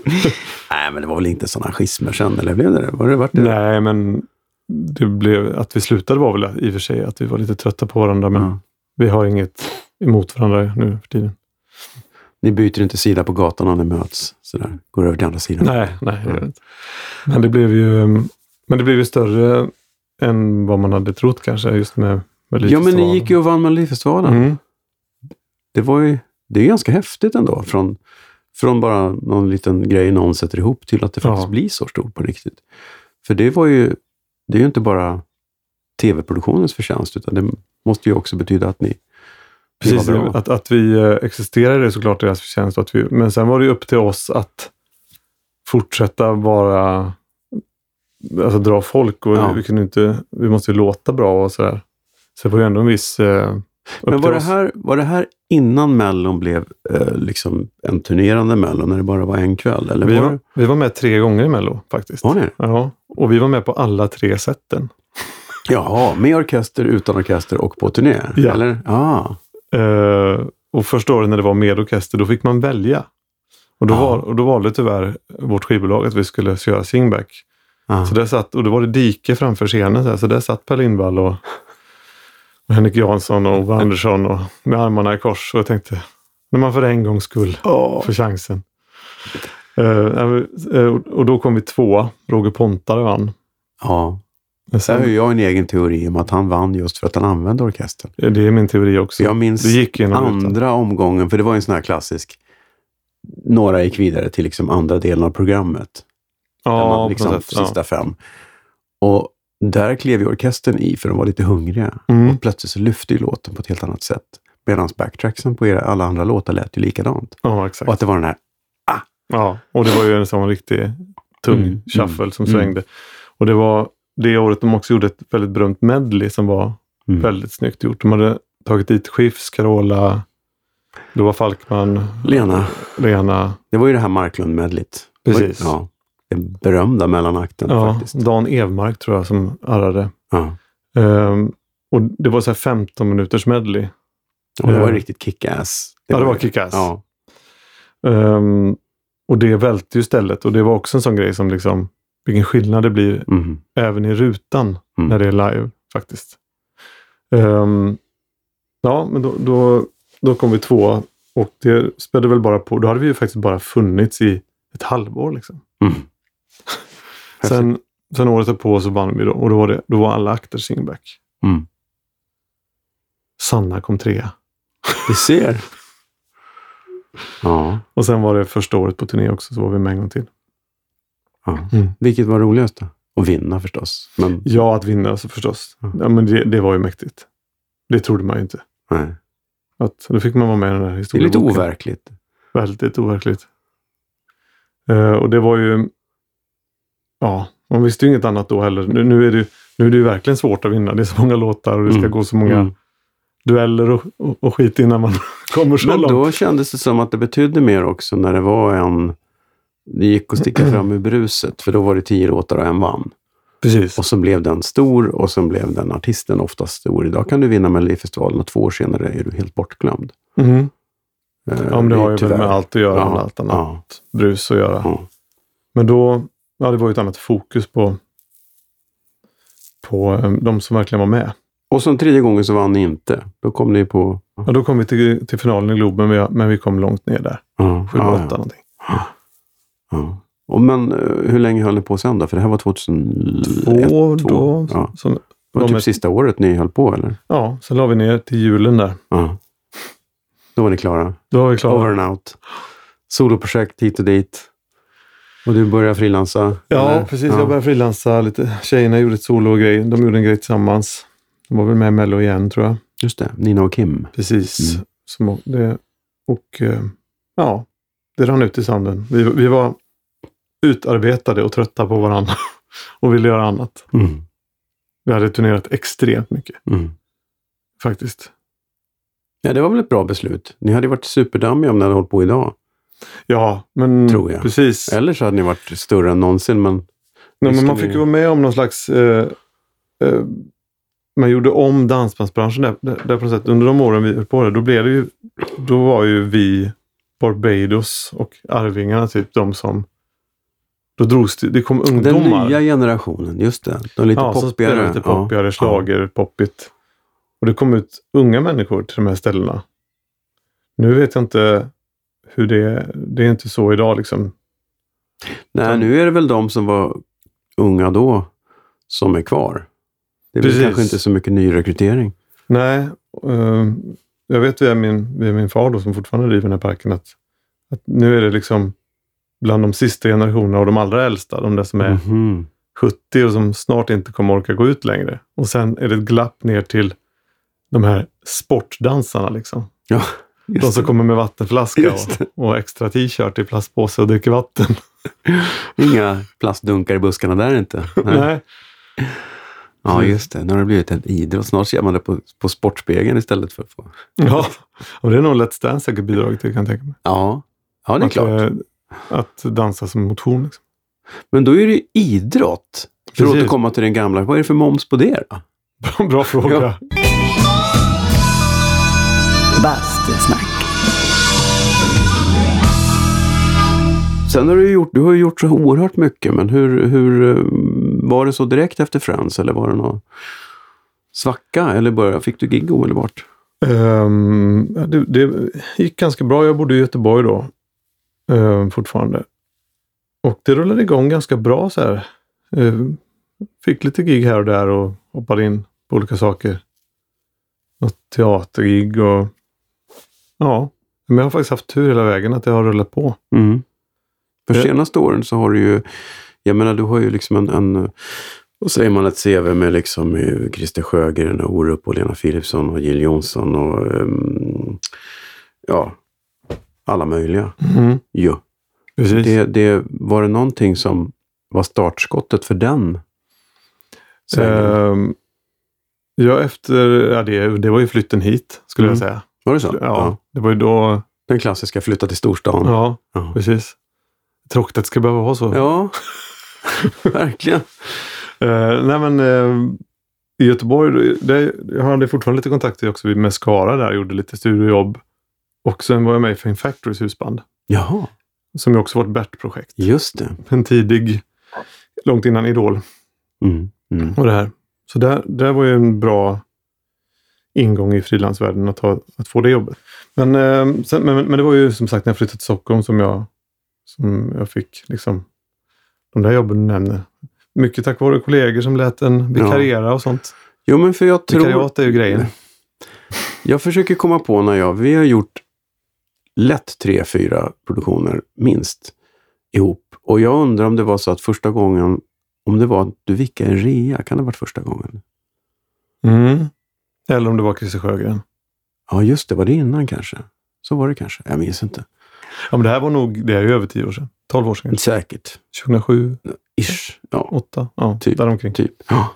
C: Nej, men det var väl inte sådana schismer sen, eller blev det det? Var det, vart det?
A: Nej, men det blev, att vi slutade var väl att- i och för sig att vi var lite trötta på varandra. Men
C: Ja.
A: vi har inget emot varandra nu för tiden.
C: Ni byter inte sida på gatan när ni möts? Sådär. Går över till andra sidan?
A: Nej, nej. det gör det inte. Men det blev ju um, men det blev ju större än vad man hade trott kanske. Just med, med
C: ja, men ni gick ju och vann Melodifestivalen.
A: Mm.
C: Det var ju... Det är ganska häftigt ändå från, Från bara någon liten grej någon sätter ihop till att det
A: Ja.
C: faktiskt blir så stort på riktigt. För det var ju, det är ju inte bara tv-produktionens förtjänst, utan det måste ju också betyda att ni
A: Precis,
C: Det var bra.
A: att, att vi eh, existerar är såklart deras förtjänst. och Att vi, men sen var det ju upp till oss att fortsätta vara, alltså dra folk och
C: Ja.
A: vi kunde inte, vi måste ju låta bra och sådär. Så det var ju ändå en viss, eh, upp
C: Men
A: till
C: var det,
A: oss.
C: här, var det här innan Mellon blev eh, liksom en turnerande Mellon, när det bara var en kväll? Eller
A: vi,
C: var,
A: var,
C: det-
A: vi var med tre gånger i Mello faktiskt.
C: var ni det?
A: Ja, och vi var med på alla tre sätten.
C: Jaha, med orkester, utan orkester och på turné?
A: Ja.
C: Eller? Ah,
A: Eh, och första året när det var med orkester, då fick man välja. Och då,
C: Ja.
A: val, och då valde tyvärr vårt skivbolag att vi skulle köra singback.
C: ah.
A: Så där satt, och då var det dike framför scenen. Så, här, så där satt Per Lindvall och, och Henrik Jansson och Ove Andersson och, med armarna i kors. Och jag tänkte, när man för en gångs skull får chansen. Eh, eh, och- och då kom vi tvåa. Roger Pontare vann.
C: Ja.
A: Men
C: Där har
A: sen,
C: ju jag en egen teori om att han vann just för att han använde orkestern.
A: det är min teori också.
C: Så jag minns
A: det gick genom rutan.
C: andra omgången, för det var ju en sån här klassisk, några gick vidare till liksom andra delen av programmet. där
A: Ja,
C: man
A: på
C: liksom,
A: något sätt.
C: sista
A: Ja.
C: fem. Och där klev ju orkestern i, för de var lite hungriga.
A: Mm.
C: Och plötsligt så lyfte ju låten på ett helt annat sätt. Medan backtracksen på era, alla andra låtar lät ju likadant.
A: ja, exakt.
C: Och att det var den här,
A: Ja, och det var ju en sån riktig tung
C: Mm,
A: shuffle som
C: mm.
A: svängde. Och det var det året de också gjorde ett väldigt berömt medley som var
C: Mm.
A: väldigt snyggt gjort. De hade tagit dit Schiffs, Carola, då var Falkman,
C: Lena,
A: Lena,
C: det var ju det här Marklund-medlet.
A: Precis.
C: Ja, den berömda mellanakten
A: ja,
C: faktiskt.
A: Dan Evmark tror jag som arrade.
C: Ja.
A: Ehm, och det var så här 15 minuters medley.
C: Och det var
A: Ja.
C: ju riktigt kick-ass.
A: Eh. Ja, det var kick-ass.
C: Ja.
A: Ehm, och det välte ju stället och det var också en sån grej som liksom, vilken skillnad det blir
C: Mm.
A: även i rutan
C: Mm.
A: när det är live faktiskt. Ehm, ja, men då, då, då kom vi två och det spädde väl bara på. Då hade vi ju faktiskt bara funnits i ett halvår. Liksom.
C: Mm.
A: Sen, sen året därpå så vann vi då och då var, det, då var alla akter singback.
C: Mm.
A: Sanna kom trea.
C: Du ser. Ja.
A: Och sen var det första året på turné också så var vi med en gång till.
C: ja.
A: Mm.
C: Vilket var roligast då? Att vinna förstås. Men,
A: Ja, att vinna alltså förstås.
C: Mm.
A: Ja, men det, det var ju mäktigt. Det trodde man ju inte.
C: nej.
A: Att, då fick man vara med i den här
C: Det är lite
A: historieboken.
C: overkligt.
A: Väldigt overkligt. Eh, och det var ju... Ja, man visste ju inget annat då heller. Nu, nu, är det ju, nu är det ju verkligen svårt att vinna. Det är så många låtar och det ska
C: Mm.
A: gå så många
C: Mm.
A: dueller och, och, och skit innan man kommer så
C: Men
A: långt.
C: då kändes det som att det betydde mer också när det var en... Det gick att sticka fram ur bruset, för då var det tio låtar och en vann.
A: Precis.
C: Och så blev den stor och sen blev den artisten oftast stor. Idag kan du vinna Melodifestivalen och två år senare är du helt bortglömd.
A: Mm.
C: Eh,
A: Ja, men det har ju
C: tyvärr.
A: väl med allt att göra.
C: Ja,
A: Med allt annat
C: ja,
A: brus att göra.
C: ja.
A: Men då... Ja, det var ju ett annat fokus på, på eh, de som verkligen var med.
C: Och sen tredje gången så vann ni inte. Då kom ni på...
A: Ja, då kom vi till, till finalen i Globen, men, jag, men vi kom långt ner där.
C: Ja,
A: Sju, åtta någonting.
C: Ja. Och men eh, hur länge höll ni på sen då? För det här var 2001?
A: Två,
C: två.
A: då,
C: Ja.
A: som,
C: Det var
A: de
C: typ
A: är-
C: sista året ni höll på, eller?
A: Ja, sen la vi ner till julen där.
C: Ja. Då var ni klara.
A: Då var vi klara.
C: Over and out. Soloprojekt hit och dit. Och du började frilansa?
A: Ja,
C: eller?
A: precis. Jag började frilansa lite. Tjejerna gjorde ett sologrej. De gjorde en grej tillsammans. De var väl med i Mello igen, tror jag.
C: Just det, Nina och Kim.
A: Precis.
C: Mm.
A: Som, det, och eh, ja, det rann ut i sanden. Vi, vi var utarbetade och trötta på varandra och ville göra annat.
C: Mm.
A: Vi hade turnerat extremt mycket,
C: Mm.
A: faktiskt.
C: Ja, det var väl ett bra beslut. Ni hade ju varit superdammiga om ni hade hållit på idag.
A: Ja, men
C: Tror jag.
A: precis.
C: Eller så hade ni varit större än någonsin, men...
A: Nej, men
C: Visste
A: man
C: ni-
A: fick ju vara med om någon slags... Eh, eh, man gjorde om dansbandsbranschen där, där, där på något sätt. Under de åren vi höll på där, då blev det ju... Då var ju vi Barbados och Arvingarna typ de som... Då drogs det... Det kom
C: Den
A: ungdomar.
C: nya generationen, just det. De lite
A: ja, som spelade
C: poppigare.
A: lite poppigare, slager, poppigt. Och det kom ut unga människor till de här ställena. Nu vet jag inte hur det är. Det är inte så idag liksom.
C: Nej, nu är det väl de som var unga då som är kvar. Det är väl
A: Precis.
C: kanske inte så mycket nyrekrytering.
A: ehm, Nej, eh, jag vet via min, via min far då, som fortfarande driver den här parken att Att nu är det liksom bland de sista generationerna och de allra äldsta, de där som är
C: Mhm.
A: 70 och som snart inte kommer orka gå ut längre. Och sen är det ett glapp ner till de här sportdansarna. Liksom.
C: Ja,
A: De
C: just
A: som kommer med vattenflaska
C: Just
A: och, och extra t-shirt i plastpåse och dricker vatten.
C: det. Inga plastdunkar i buskarna där inte. Nej.
A: Nej.
C: Ja, just det. Nu har det blivit en idrott. Snart ser man det på, på Sportspegeln istället för på...
A: Ja. Och det är nog Let's Dance säkert bidragit till kan jag tänka mig.
C: Ja, ja det är
A: att,
C: klart.
A: eh, Att dansa som motion. Liksom.
C: Men då är det ju idrott. För att
A: Precis.
C: återkomma till den gamla, vad är det för moms på det då?
A: Bra, bra fråga.
C: Ja.
B: Bastusnack.
C: Sen har du ju gjort, du har ju gjort så oerhört mycket, men hur, hur eh, var det så direkt efter Friends eller var det någon svacka eller började, fick du gig omedelbart?
A: Ehm, ja, det, det gick ganska bra. Jag bodde i Göteborg då ehm, fortfarande. Och det rullade igång ganska bra så här. Ehm, fick lite gig här och där och hoppade in på olika saker. Något teatergig och ja. Men jag har faktiskt haft tur hela vägen att det har rullat på.
C: Mm. För
A: Eh.
C: senaste åren så har du ju, jag menar du har ju liksom en, en vad säger man, ett CV med liksom eh, Christer Sjögren och Orup och Lena Philipsson och Jill Johnson och ehm, ja, alla möjliga ju.
A: Precis.
C: Mm-hmm. Det, det, var det någonting som var startskottet för den? svängen?
A: Ehm, ja, efter, ja, det, det var ju flytten hit skulle
C: Mm.
A: jag säga.
C: var det så?
A: Ja, det var ju då,
C: Den klassiska flytta till storstan.
A: ja,
C: Ja.
A: precis. Tråkigt att det ska behöva vara så.
C: Ja, verkligen.
A: Eh, nej men eh, i Göteborg, det, jag hade fortfarande lite kontakter också med Skara där, gjorde lite studiojobb. Och sen var jag med i Fame Factorys husband,
C: Jaha,
A: som ju också var ett Bert-projekt.
C: just det.
A: En tidig, långt innan Idol
C: Mm. Mm.
A: och det här. Så där, där var ju en bra ingång i frilansvärlden att, ha, att få det jobbet. Men, eh, sen, men, men det var ju som sagt när jag flyttade till Stockholm som jag, som jag fick liksom, de där jobben du nämner. Mycket tack vare kollegor som lät en vikariera och sånt.
C: Jo, men för jag tror...
A: Vikariat är ju grejen.
C: Jag försöker komma på när jag... Vi har gjort lätt tre, fyra produktioner, minst, ihop. Och jag undrar om det var så att första gången, om det var att du vickade en rea, kan det ha varit första gången? Mm.
A: Eller om det var Christer Sjögren.
C: Ja, just det. Var det innan kanske? Så var det kanske. Jag minns inte.
A: Ja, men det här var nog, det är ju över tio år sedan. 12 år sedan kanske.
C: Säkert.
A: 2007,
C: Ish. Ja,
A: 2008, ja,
C: Typ.
A: däromkring.
C: typ. Ja.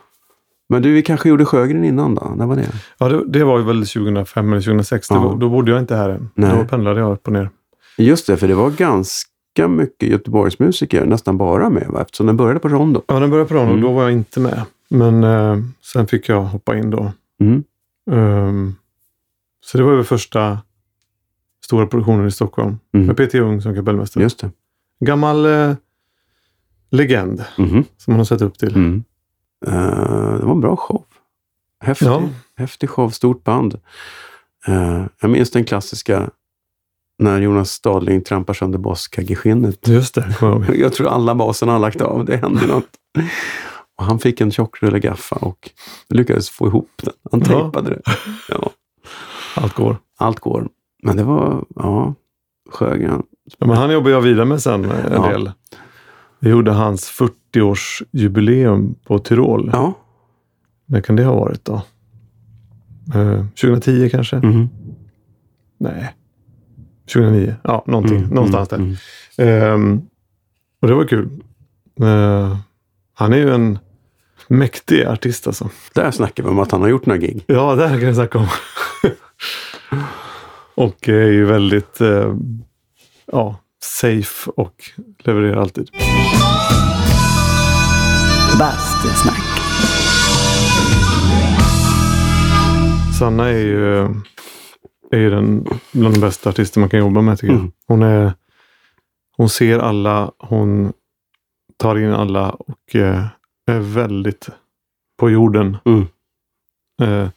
C: Men du, vi kanske gjorde Sjögren innan då? När var det?
A: Ja, det, det var ju väl 2005 eller 2006. Det
C: Ja.
A: var, då bodde jag inte här än.
C: Nej.
A: Då pendlade jag upp och ner.
C: Just det, för det var ganska mycket Göteborgsmusiker, nästan bara med, va? eftersom den började på Rondo.
A: Ja, när jag började på Rondo,
C: Mm.
A: då var jag inte med. Men eh, sen fick jag hoppa in då.
C: Mm.
A: Ehm, så det var ju första stora produktionen i Stockholm.
C: Mm.
A: Med Peter Jung som kapellmästare.
C: Just det.
A: Gammal eh, legend
C: Mhm.
A: som man har sett upp till.
C: Mm. Eh, det var en bra show. Häftig,
A: Ja.
C: häftig show, stort band. Eh, jag minns den klassiska när Jonas Stadling trampar sönder baskaggeskinnet.
A: Just det, kommer jag ihåg.
C: Jag tror alla baserna har lagt av. Det hände något. Och han fick en tjockrulle gaffa och lyckades få ihop den. Han
A: Ja.
C: tejpade det. Ja,
A: Allt går.
C: allt går. Men det var, ja, Sjögren.
A: Ja, men han jobbade jag vidare med sen eh, en
C: Ja.
A: del. Vi gjorde hans 40-årsjubileum på Tyrol.
C: Ja.
A: När kan det ha varit då? Eh, 2010 kanske?
C: Mm.
A: Nej. 2009? Ja, någonting.
C: Mm,
A: Mm-hmm. Någonstans
C: mm,
A: där. Ehm, och det var kul. Eh, han är ju en mäktig artist alltså.
C: Där snackar vi om att han har gjort några gig.
A: Ja, det här kan jag snacka om. och är ju väldigt eh, ja, safe och levererar alltid.
B: Bastusnack.
A: Sanna är ju, är ju den, bland de bästa artister man kan jobba med tycker jag.
C: Mm.
A: Hon, är, hon ser alla, hon tar in alla och eh, är väldigt på jorden.
C: Mm.
A: Eh,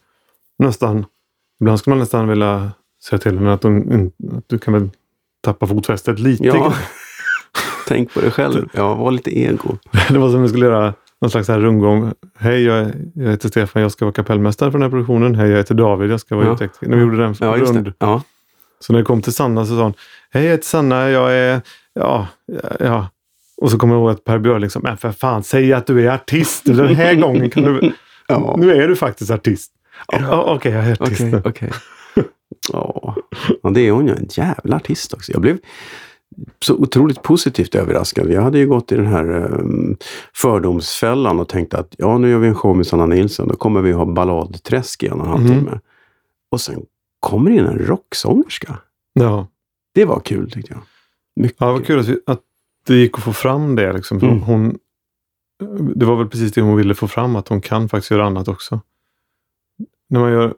A: nästan, ibland skulle man nästan vilja säga till henne att, hon, in- att du kan väl tappa fotfästet lite.
C: Ja.
A: grann.
C: Tänk på dig själv. Ja, var lite ego.
A: Det var som om vi skulle göra någon slags så här rundgång. Hej, jag, är- jag heter Stefan, jag ska vara kapellmästare för den här produktionen. Hej, jag heter David, jag ska vara
C: Ja.
A: ljudtekniker. När vi gjorde den
C: Ja, just
A: rund,
C: det. Ja.
A: Så när jag kom till Sanna så sa hon, hej jag heter Sanna, jag är, ja, ja. Och så kommer jag ihåg att Per Björling sa, men för fan, säg att du är artist. Den här gången kan du,
C: Ja.
A: nu är du faktiskt artist. Ja, ja, Okej, jag är artist
C: Okej,
A: nu.
C: okej. Ja, Ja, det är hon ju. En jävla artist också. Jag blev så otroligt positivt överraskad. Jag hade ju gått i den här eh, fördomsfällan och tänkt att ja, nu gör vi en show med Sanna Nilsson. Då kommer vi ha balladträsk i en och en halv
A: Mm.
C: timme. Och sen kommer det in en rocksångerska.
A: Ja.
C: Det var kul tyckte jag. Mycket
A: Ja, det var kul att, vi, att det gick att få fram det. Liksom. För
C: Mm.
A: hon, det var väl precis det hon ville få fram, att hon kan faktiskt göra annat också. När man gör,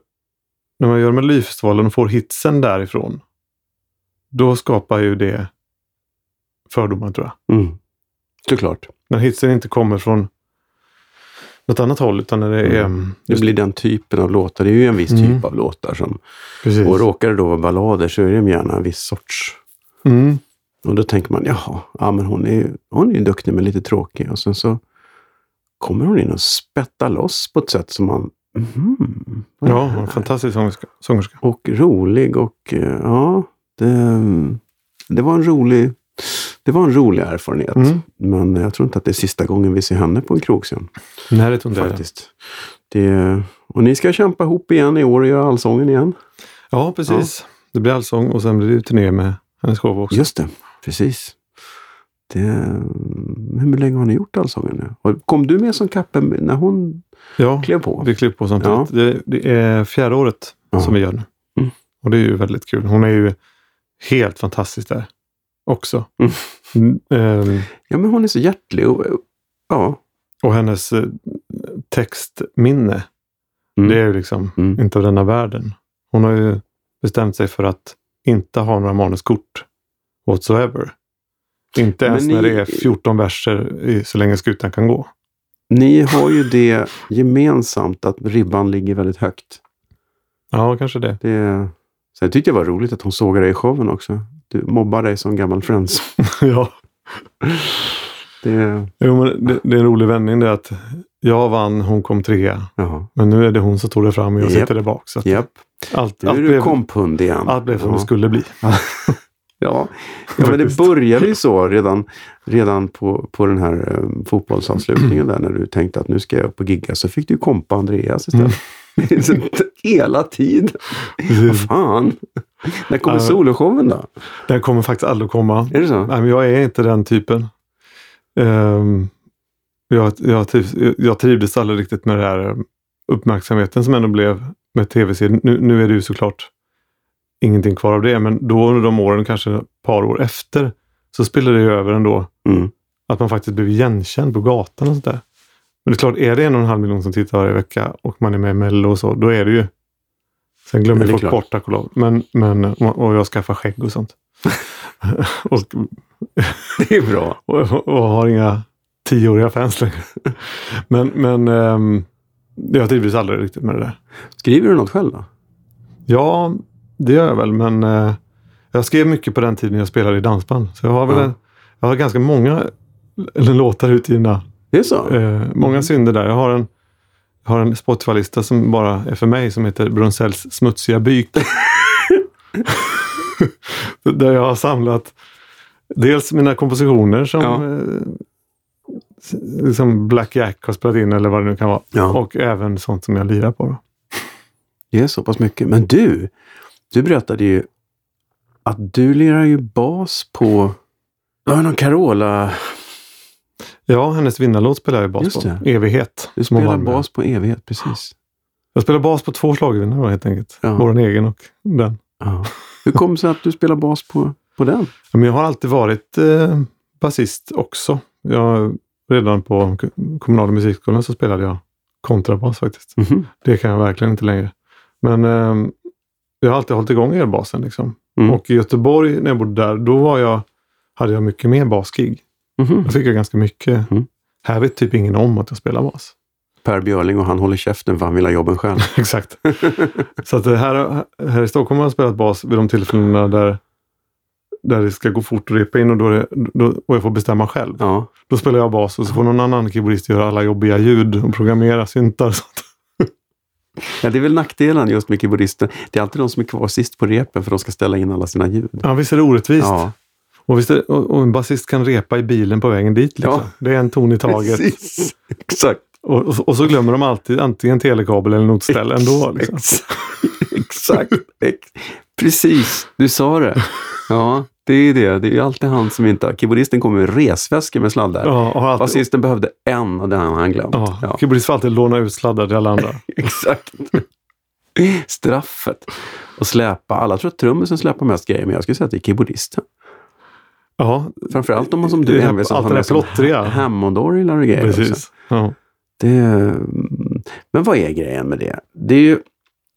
A: när man gör Melodifestivalen och får hitsen därifrån, då skapar ju det fördomar tror jag.
C: Mm. Såklart.
A: När hitsen inte kommer från något annat håll, utan när det är...
C: Mm. Det blir den typen av låtar. Det är ju en viss
A: Mm.
C: typ av låtar. Som,
A: precis.
C: och råkar det då vara ballader så är de gärna en viss sorts
A: Mm.
C: Och då tänker man, jaha, ja, men hon är ju hon är ju duktig men lite tråkig. Och sen så kommer hon in och spettar loss på ett sätt som man, mhm, vad är det
A: Ja,
C: här?
A: en fantastisk sångerska. sångerska.
C: Och rolig och eh, ja, det, det var en rolig det var en rolig erfarenhet.
A: Mm.
C: Men jag tror inte att det är sista gången vi ser henne på en krogscen.
A: Nej, det tror inte jag.
C: Faktiskt. Det, och ni ska kämpa ihop igen i år och göra allsången igen.
A: Ja, precis. Det blir allsång och sen blir det ju turné med hennes show också.
C: Just det, precis. Det, hur länge har ni gjort Allsången nu? Och Kom du med som kappe när hon
A: Ja.
C: klev på?
A: Vi klipper på samtidigt.
C: Ja.
A: Det, det är fjärde året
C: Ja.
A: som vi gör nu.
C: Mm.
A: Och det är ju väldigt kul. Hon är ju helt fantastisk där också.
C: Mm.
A: Mm, ehm,
C: Ja, men hon är så hjärtlig. Och, ja.
A: och hennes eh, textminne,
C: Mm.
A: det är ju liksom
C: Mm.
A: inte av denna världen. Hon har ju bestämt sig för att inte ha några manuskort whatsoever. Inte
C: Men
A: ens när
C: ni-
A: det är 14 verser i så länge skutan kan gå.
C: Ni har ju det gemensamt att ribban ligger väldigt högt.
A: Ja, kanske det.
C: Det, sen tyckte jag var roligt att hon såg dig i showen också. Du mobbar dig som gammal Friends.
A: ja.
C: Det,
A: Jo, men det, det är en rolig vändning det att jag vann, hon kom trea.
C: ja.
A: Men nu är det hon som tog det fram och jag
C: Japp.
A: sitter där bak. Så att
C: Japp.
A: allt,
C: Nu är
A: allt,
C: du
A: blev,
C: komphund igen.
A: allt blev som det
C: Ja.
A: skulle bli.
C: Ja, ja men det
A: Faktiskt.
C: började ju så redan, redan på, på den här eh, fotbollsavslutningen där när du tänkte att nu ska jag upp och gigga. Så fick du kompa Andreas istället.
A: Mm.
C: Så Hela tiden. Vad fan. När kommer
A: Ja.
C: soloshowen då?
A: Den kommer faktiskt aldrig att komma.
C: Är det så?
A: Nej, men jag är inte den typen. Ehm, jag, jag, trivs, jag trivdes aldrig riktigt med den här uppmärksamheten som ändå blev med tv-serien. Nu, nu är det ju såklart ingenting kvar av det, men då under de åren, kanske ett par år efter, så spelade det ju över ändå.
C: Mm.
A: Att man faktiskt blev igenkänd på gatan och sådär. Men det är klart, är det en och en halv miljon som tittar varje vecka och man är med i Mello och så, då är det ju... Sen glömmer
C: Ja, det är
A: folk
C: klart.
A: bort, tack och lov. Men, men, och jag skaffar skägg och sånt. och,
C: Det är bra.
A: och, och har inga tioåriga fans längre. Men, men ehm, jag trivdes aldrig riktigt med det där.
C: Skriver du något själv då?
A: Ja, det gör jag väl, men eh, jag skrev mycket på den tiden jag spelade i dansband. Så jag har väl
C: Ja.
A: en, jag har ganska många l- låtar utgivna
C: Det är så?
A: Eh,
C: Mm.
A: många synder där. Jag har en, jag har en Spotify-lista som bara är för mig som heter Brunsells smutsiga byk. där jag har samlat dels mina kompositioner som
C: Ja.
A: eh, som Black Jack har spelat in eller vad det nu kan vara.
C: Ja.
A: Och även sånt som jag lirar på. då.
C: Det är så pass mycket. Men du, du berättade ju att du lirar ju bas på... Det var någon Carola...
A: Ja, hennes vinnarlåt spelar jag ju bas
C: Just
A: på.
C: det.
A: Evighet.
C: Du
A: som hon
C: spelar
A: vann med.
C: bas på evighet, precis.
A: Jag spelar bas på två schlagervinnare då, helt enkelt.
C: Ja.
A: Vår egen och den.
C: Ja. Hur kom det sig att du spelar bas på, på den?
A: Ja, Men jag har alltid varit eh, basist också. Jag, redan på k- kommunala musikskolan så spelade jag kontrabas faktiskt. Det kan jag verkligen inte längre. Men eh, jag har alltid hållit igång elbasen. Liksom.
C: Mm.
A: Och i Göteborg, när jag bodde där, då var jag, hade jag mycket mer basgig.
C: Mhm.
A: Då fick jag ganska mycket.
C: Mm.
A: Här vet typ ingen om att jag spelar bas.
C: Per Björling och han håller käften för han vill ha jobben själv.
A: Exakt. Så att eh, här, här i Stockholm har jag spelat bas vid de tillfällena där, där det ska gå fort att repa in och, då är det, då, och jag får bestämma själv.
C: Ja.
A: Då spelar jag bas och så får någon annan keyboardist göra alla jobbiga ljud och programmera syntar och sånt.
C: Ja, det är väl nackdelen just med keyboardisten. Det är alltid de som är kvar sist på repen för de ska ställa in alla sina ljud.
A: Ja, visst är det orättvist.
C: Ja,
A: Och, visst är, och, och en basist kan repa i bilen på vägen dit. Liksom.
C: Ja.
A: Det är en ton i taget.
C: precis. Exakt.
A: Och, och, och så glömmer de alltid antingen telekabel eller notställ ändå. Liksom.
C: Exakt. Exakt. Ex- Precis, du sa det. Ja, det är det. Det är ju alltid han som inte... Keyboardisten kommer med resväskor med sladdar.
A: Ja, och har alltid,
C: Basisten behövde en och den har han glömt.
A: ja,
C: Ja,
A: Keyboardist får alltid låna ut sladdar till alla andra.
C: exakt. Straffet. Och släpa. Alla tror att trummisen släpar mest grejer, men jag skulle säga att det är keyboardisten.
A: Ja,
C: Framförallt om man som du
A: Det här-
C: envisas
A: allt
C: har
A: det
C: med
A: där
C: som
A: plottriga.
C: Hammondorglar och grejer. också.
A: precis. Ja.
C: Det, mm, men vad är grejen med det? Det är ju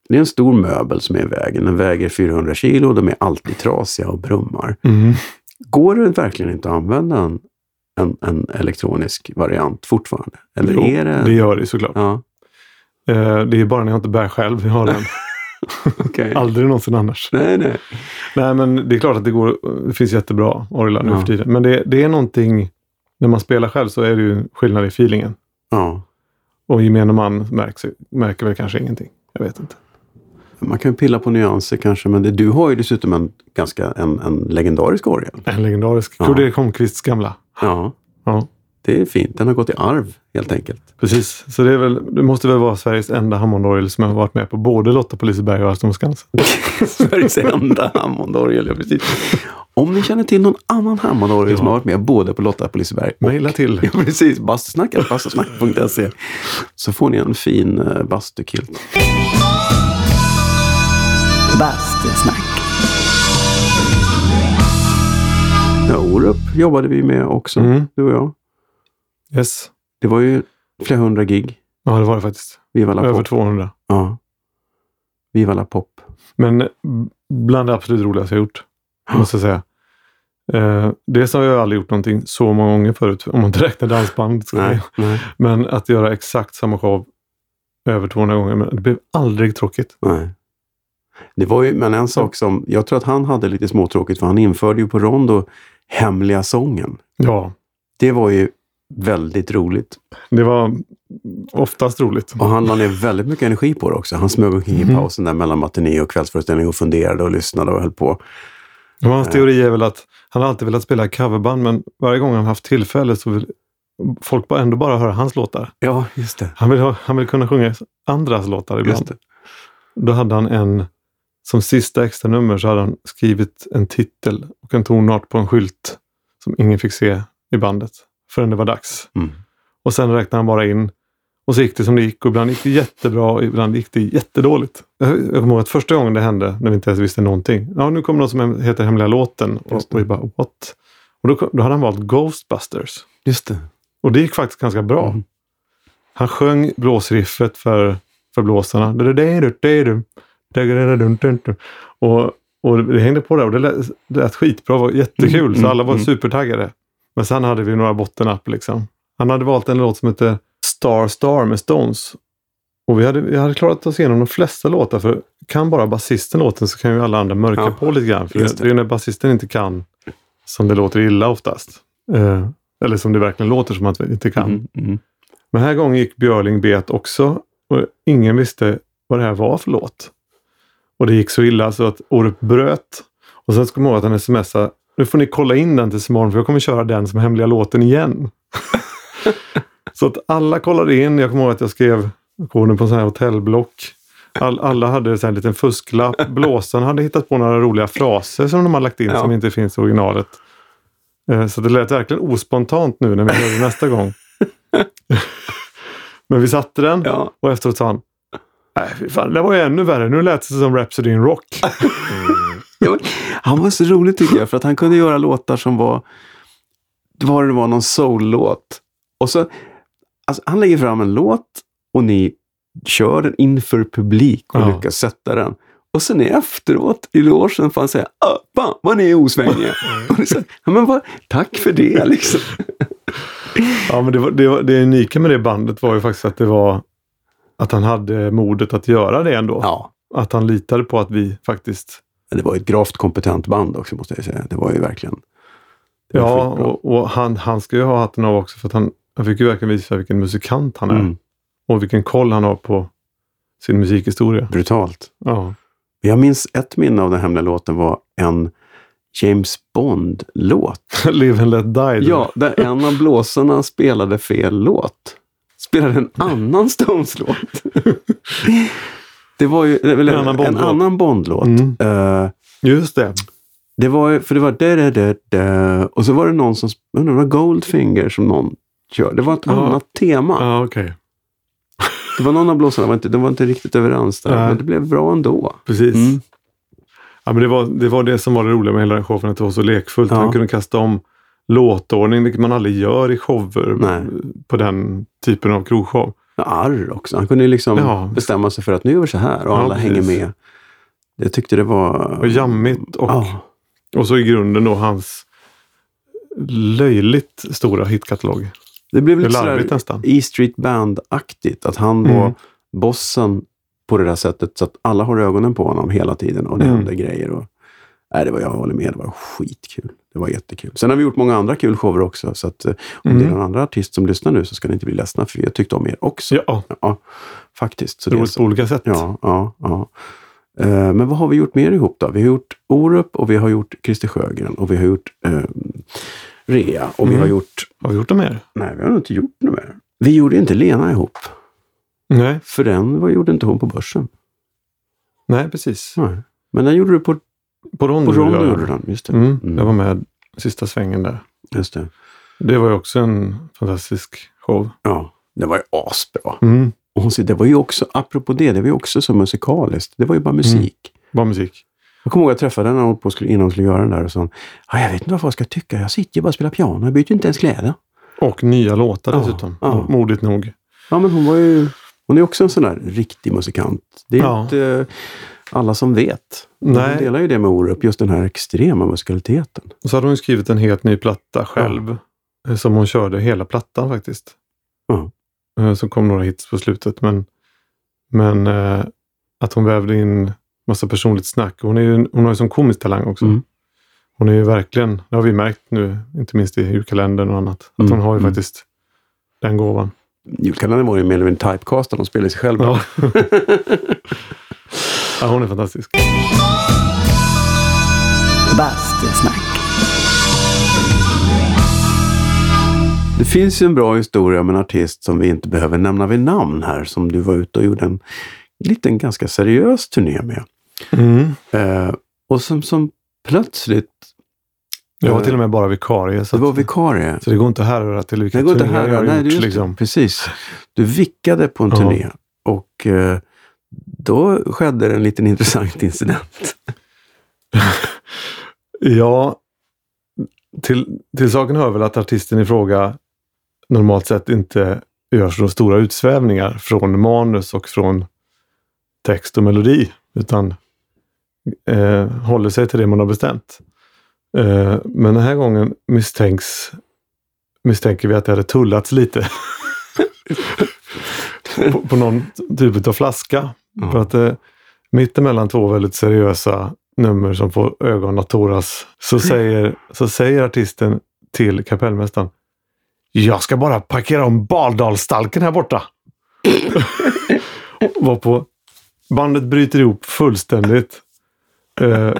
C: det är en stor möbel som är i vägen. Den väger 400 kilo och de är alltid trasiga och brummar.
A: Mm.
C: Går det verkligen inte att använda en, en, en elektronisk variant fortfarande? Eller
A: Jo,
C: är det...
A: det gör det såklart.
C: Ja,
A: Eh, Det är bara när jag inte bär själv jag har den.
C: okej.
A: Aldrig någonsin annars.
C: Nej, nej.
A: Nej, men det är klart att det, går, det finns jättebra orglar nu
C: Ja.
A: för tiden. Men det, det är någonting, när man spelar själv så är det ju skillnad i feelingen.
C: Ja.
A: Och gemene man märks, märker väl kanske ingenting. Jag vet inte.
C: Man kan ju pilla på nyanser kanske, men det, du har ju dessutom en ganska en, en legendarisk orgel.
A: En legendarisk
C: Ja.
A: Kurt Erik Holmqvists gamla.
C: Ja,
A: Ja,
C: det är fint. Den har gått i arv helt enkelt.
A: precis. Så det, är väl, det måste väl vara Sveriges enda hammondorgel som har varit med på både Lotta på Liseberg och Alstom Skansen.
C: Sveriges enda Hammondorgel, ja precis. Om ni känner till någon annan Hammondorgel som har varit med både på Lotta på Liseberg och
A: Mejla till.
C: Ja, precis. Bastusnacket, bastusnack.se. Så får ni en fin eh, bastukilt.
B: Bastusnack.
C: Ja, Orup jobbade vi med också,
A: Mm.
C: du och jag.
A: Yes.
C: Det var ju flera hundra gig.
A: Ja, det var det faktiskt.
C: Viva la
A: Över
C: pop.
A: 200.
C: Ja. Viva la pop.
A: Men bland det absolut roligaste jag gjort, måste jag säga. Eh, dels har jag aldrig gjort någonting så många gånger förut, om man inte räknar dansband. ska jag
C: Nej,
A: säga.
C: nej,
A: Men att göra exakt samma show över 200 gånger, men det blev aldrig tråkigt.
C: nej. Det var ju, men en sak som, jag tror att han hade lite småtråkigt för han införde ju på Rondo hemliga sången.
A: Ja,
C: Det var ju väldigt roligt.
A: det var oftast roligt.
C: Och han la ner väldigt mycket energi på det också. Han smög omkring i pausen där mellan matiné och kvällsföreställning och funderade och lyssnade och höll på.
A: Och hans teori är väl att han har alltid velat spela coverband, men varje gång han haft tillfälle så vill folk bara- ändå bara höra hans låtar.
C: Ja, just det.
A: Han vill, ha, han vill kunna sjunga andras låtar
C: Just
A: ibland.
C: det.
A: Då hade han en, som sista extra nummer så hade han skrivit en titel och en tonart på en skylt som ingen fick se i bandet förrän det var dags.
C: Mm.
A: Och sen räknade han bara in. Och så gick det som det gick och ibland gick det jättebra och ibland gick det jättedåligt. Jag jag kommer ihåg att första gången det hände, när vi inte ens visste någonting. Ja, nu kommer någon som hem- heter Hemliga låten. Och,
C: Just det.
A: och vi bara, what? Och då, kom- då hade han valt Ghostbusters.
C: Just det.
A: Och det gick faktiskt ganska bra.
C: Mm.
A: Han sjöng blåsriffet för, för blåsarna. Och, och det hängde på där och det lät, det lät skitbra. Det var jättekul.
C: Mm,
A: Så
C: mm,
A: alla var
C: mm.
A: supertaggade. Men sen hade vi några bottenapp liksom. Han hade valt en låt som heter Star Star med Stones. Och vi hade, vi hade klarat oss igenom de flesta låtar. För kan bara basisten låten så kan ju alla andra mörka
C: Ja,
A: på lite grann. För
C: just
A: det.
C: det.
A: är ju när basisten inte kan som det låter illa oftast. Eh, eller som det verkligen låter som att vi inte kan.
C: Mm, mm.
A: Men här gången gick Björling bet också och ingen visste vad det här var för låt. Och det gick så illa så att Orup bröt. Och sen kom jag ihåg att han smsade. Nu får ni kolla in den tills imorgon för jag kommer köra den som hemliga låten igen. så att alla kollade in. Jag kommer ihåg att jag skrev koden på en sån här hotellblock. All, alla hade så här en liten fusklapp. Blåsarna hade hittat på några roliga fraser som de har lagt in
C: Ja.
A: som inte finns i originalet. Eh, Så det lät verkligen ospontant nu när vi hörde nästa gång. Men vi satte den
C: Ja.
A: och efteråt sa han Nej, fy fan, det var ju ännu värre. Nu lät det som Rhapsody in Rock.
C: Ja, men Han var så rolig tycker jag, för att han kunde göra låtar som var... Det var det var någon soul-låt. Och så, alltså, han lägger fram en låt och ni kör den inför publik och
A: Ja.
C: lyckas sätta den. Och sen efteråt i logen får han säga "Ah, fan vad ni är osvängiga.
A: Mm.
C: Och det är så här, ja, men vad, tack för det liksom.
A: Ja, men det, var, det, var, det unika med det bandet var ju faktiskt att det var att han hade modet att göra det ändå.
C: Ja,
A: Att han litade på att vi faktiskt...
C: men det var ju ett gravt kompetent band också måste jag säga. Det var ju verkligen... det var
A: Ja,
C: skitbra.
A: och, och han, han ska ju ha hatten av också för att han, han fick ju verkligen visa vilken musikant han är.
C: Mm.
A: Och vilken koll han har på sin musikhistoria.
C: Brutalt.
A: Ja.
C: Jag minns ett minne av den hemliga låten var en James Bond-låt.
A: Live and let die.
C: Ja, där en av blåsarna spelade fel låt. Spelade en annan Stones-låt. Det var ju eller,
A: En annan
C: en
A: Bond-låt.
C: annan Bond-låt.
A: Mm.
C: Eh,
A: Just det.
C: det var ju, för det var da, da, da, da. Och så var det någon som, jag undrar om det var Goldfinger som någon körde. Det var ett
A: Ja.
C: annat tema.
A: Ja, okej.
C: Det var någon av blåsarna, var inte, de var inte riktigt överens där.
A: Nej.
C: Men det blev bra ändå.
A: Precis.
C: Mm.
A: Ja, men det, var, det var det som var det roliga med hela den showen, att det var så lekfullt.
C: Ja.
A: Han kunde kasta om låtordning, vilket man aldrig gör i shower
C: Nej.
A: på den typen av krogshow.
C: Ja, Arr också. Han kunde ju liksom
A: Ja.
C: bestämma sig för att nu gör vi så här och
A: Ja,
C: alla hänger
A: precis.
C: med. Jag tyckte det var...
A: Och jammigt och,
C: Ja,
A: och så i grunden då hans löjligt stora hitkatalog.
C: det blev
A: Det är
C: lite
A: larvigt
C: sådär
A: nästan.
C: E Street Band-aktigt. Att han
A: Mm.
C: var bossen på det där sättet så att alla har ögonen på honom hela tiden och det
A: Mm.
C: händer grejer. Och... Nej, det var, jag håller med, det var skitkul. Det var jättekul. Sen har vi gjort många andra kul shower också. Så att, eh, om det är
A: Mm.
C: någon annan artist som lyssnar nu så ska ni inte bli ledsna, för jag tyckte om er också.
A: Ja,
C: Ja, faktiskt. Så det är
A: roligt
C: så.
A: på olika sätt.
C: Ja, ja, ja. Eh, Men vad har vi gjort mer ihop då? Vi har gjort Orup och vi har gjort Christer Sjögren och vi har gjort eh, Rea och vi
A: Mm.
C: har gjort...
A: Har vi gjort det mer?
C: Nej, vi har nog inte gjort något mer. Vi gjorde inte Lena ihop,
A: Nej,
C: för den var, gjorde inte hon på börsen.
A: nej precis.
C: Nej. Men den gjorde du på,
A: På Rondo
C: på
A: gjorde
C: Rondo,
A: jag
C: gjorde
A: det.
C: den. Just det.
A: Mm,
C: Mm.
A: Jag var med sista svängen där.
C: Just det.
A: Det var ju också en fantastisk show.
C: Ja, det var ju asbra.
A: Mm.
C: Och hon, säger, det var ju också, apropå det, det var ju också så musikaliskt. Det var
A: Mm.
C: ju bara musik.
A: Bra musik.
C: Jag kommer ihåg jag träffade henne när hon på skulle, innan hon skulle göra den där och sa "Ja, jag vet inte vad folk ska tycka. Jag sitter ju bara och spelar piano. Jag byter inte ens kläder.
A: Och nya låtar
C: Ja,
A: dessutom.
C: ja.
A: Modigt nog.
C: Ja, men hon var ju... Hon är också en sån där riktig musikant. Det är
A: Ja.
C: inte eh, alla som vet.
A: Nej.
C: Hon delar ju det med Orup, just den här extrema musikaliteten.
A: Och så hade hon ju skrivit en helt ny platta själv. eh, Som hon körde hela plattan faktiskt.
C: Ja.
A: Eh, Så kom några hits på slutet. Men, men eh, att hon vävde in massa personligt snack. Hon, är ju, hon har ju som komisk talang också.
C: Mm.
A: Hon är ju verkligen, det har vi märkt nu, inte minst i julkalendern och annat. Att
C: Mm,
A: hon har ju
C: mm.
A: faktiskt den gåvan.
C: Julkalendern var ju mer eller mindre typecastad, hon spelade sig själv.
A: Ja. ja, hon är fantastisk.
B: Bastusnack.
C: Det finns ju en bra historia om en artist som vi inte behöver nämna vid namn här, som du var ute och gjorde en liten ganska seriös turné med.
A: Mm.
C: Eh, och som, som plötsligt...
A: Jag var
C: Eh,
A: till och med bara vikarie. Så,
C: Det var
A: att-
C: vikarie.
A: så det går inte att härröra till vilka
C: Det går inte
A: turnéer
C: här.
A: jag har
C: Nej,
A: gjort.
C: just det.
A: liksom.
C: Precis. Du vickade på en
A: Ja.
C: turné och eh, då skedde det en liten intressant incident.
A: Ja, till, till saken hör väl att artisten i fråga normalt sett inte gör så stora utsvävningar från manus och från text och melodi. Utan eh, håller sig till det man har bestämt. Eh, men den här gången misstänks, misstänker vi att det hade tullats lite. på, på någon typ av flaska. För att eh, mittemellan två väldigt seriösa nummer som får ögon att tåras så säger, så säger artisten till kapellmästaren Jag ska bara parkera om Baldalstalken här borta. Varpå bandet bryter ihop fullständigt. Eh,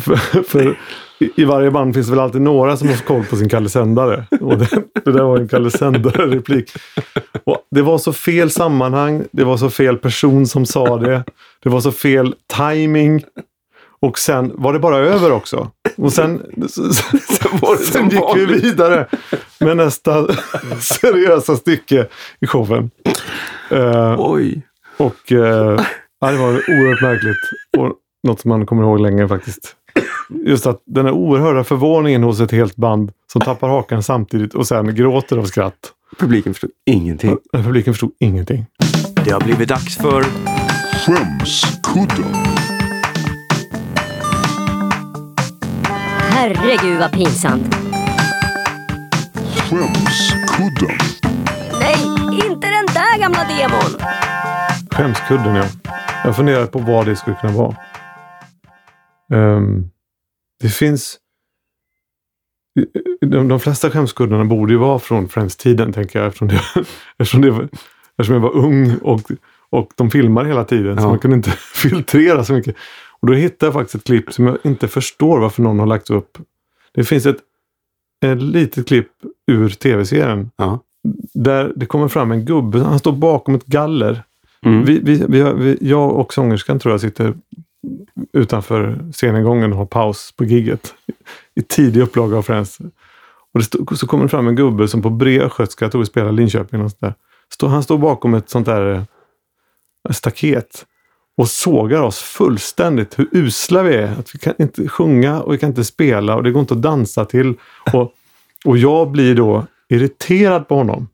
A: för, för i- i varje band finns väl alltid några som har koll på sin kallesändare. Och det, det där var en kallesändare-replik. Och det var så fel sammanhang, det var så fel person som sa det. Det var så fel timing. Och sen var det bara över också. Och sen, sen,
C: var det som
A: sen gick vi
C: vanligt.
A: vidare med nästa seriösa stycke i showen. Eh,
C: Oj!
A: och eh, ja, det var oerhört märkligt. Och något som man kommer ihåg länge faktiskt. Just att den här oerhörda förvåningen hos ett helt band som tappar hakan samtidigt och sen gråter av skratt.
C: Publiken förstod ingenting.
A: Den publiken förstod ingenting.
C: Det har blivit dags för...
E: Herregud vad pinsamt. Nej, inte den där gamla demon.
A: Skämskudden, ja. Jag funderar på vad det skulle kunna vara. Ehm, det finns... De, de flesta skämskuddarna borde ju vara från Friends-tiden, tänker jag. Eftersom, det, eftersom, det, eftersom jag var ung och, Och de filmar hela tiden så
C: Ja.
A: man kunde inte filtrera så mycket. Och då hittade jag faktiskt ett klipp som jag inte förstår varför någon har lagt upp. Det finns ett, ett litet klipp ur tv-serien.
C: Ja.
A: Där det kommer fram en gubbe. Han står bakom ett galler.
C: Mm.
A: Vi, vi, vi, har- vi, jag och sångerskan tror jag sitter utanför scenengången och har paus på gigget. I tidig upplaga av Friends. Och det stod, så kommer det fram en gubbe som på bred östgötska, jag tror vi spelar Linköping eller något sånt där. Står, han står bakom ett sånt där eh, staket och sågar oss fullständigt hur usla vi är. Att vi kan inte sjunga och vi kan inte spela och det går inte att dansa till. Och, och jag blir då irriterad på honom.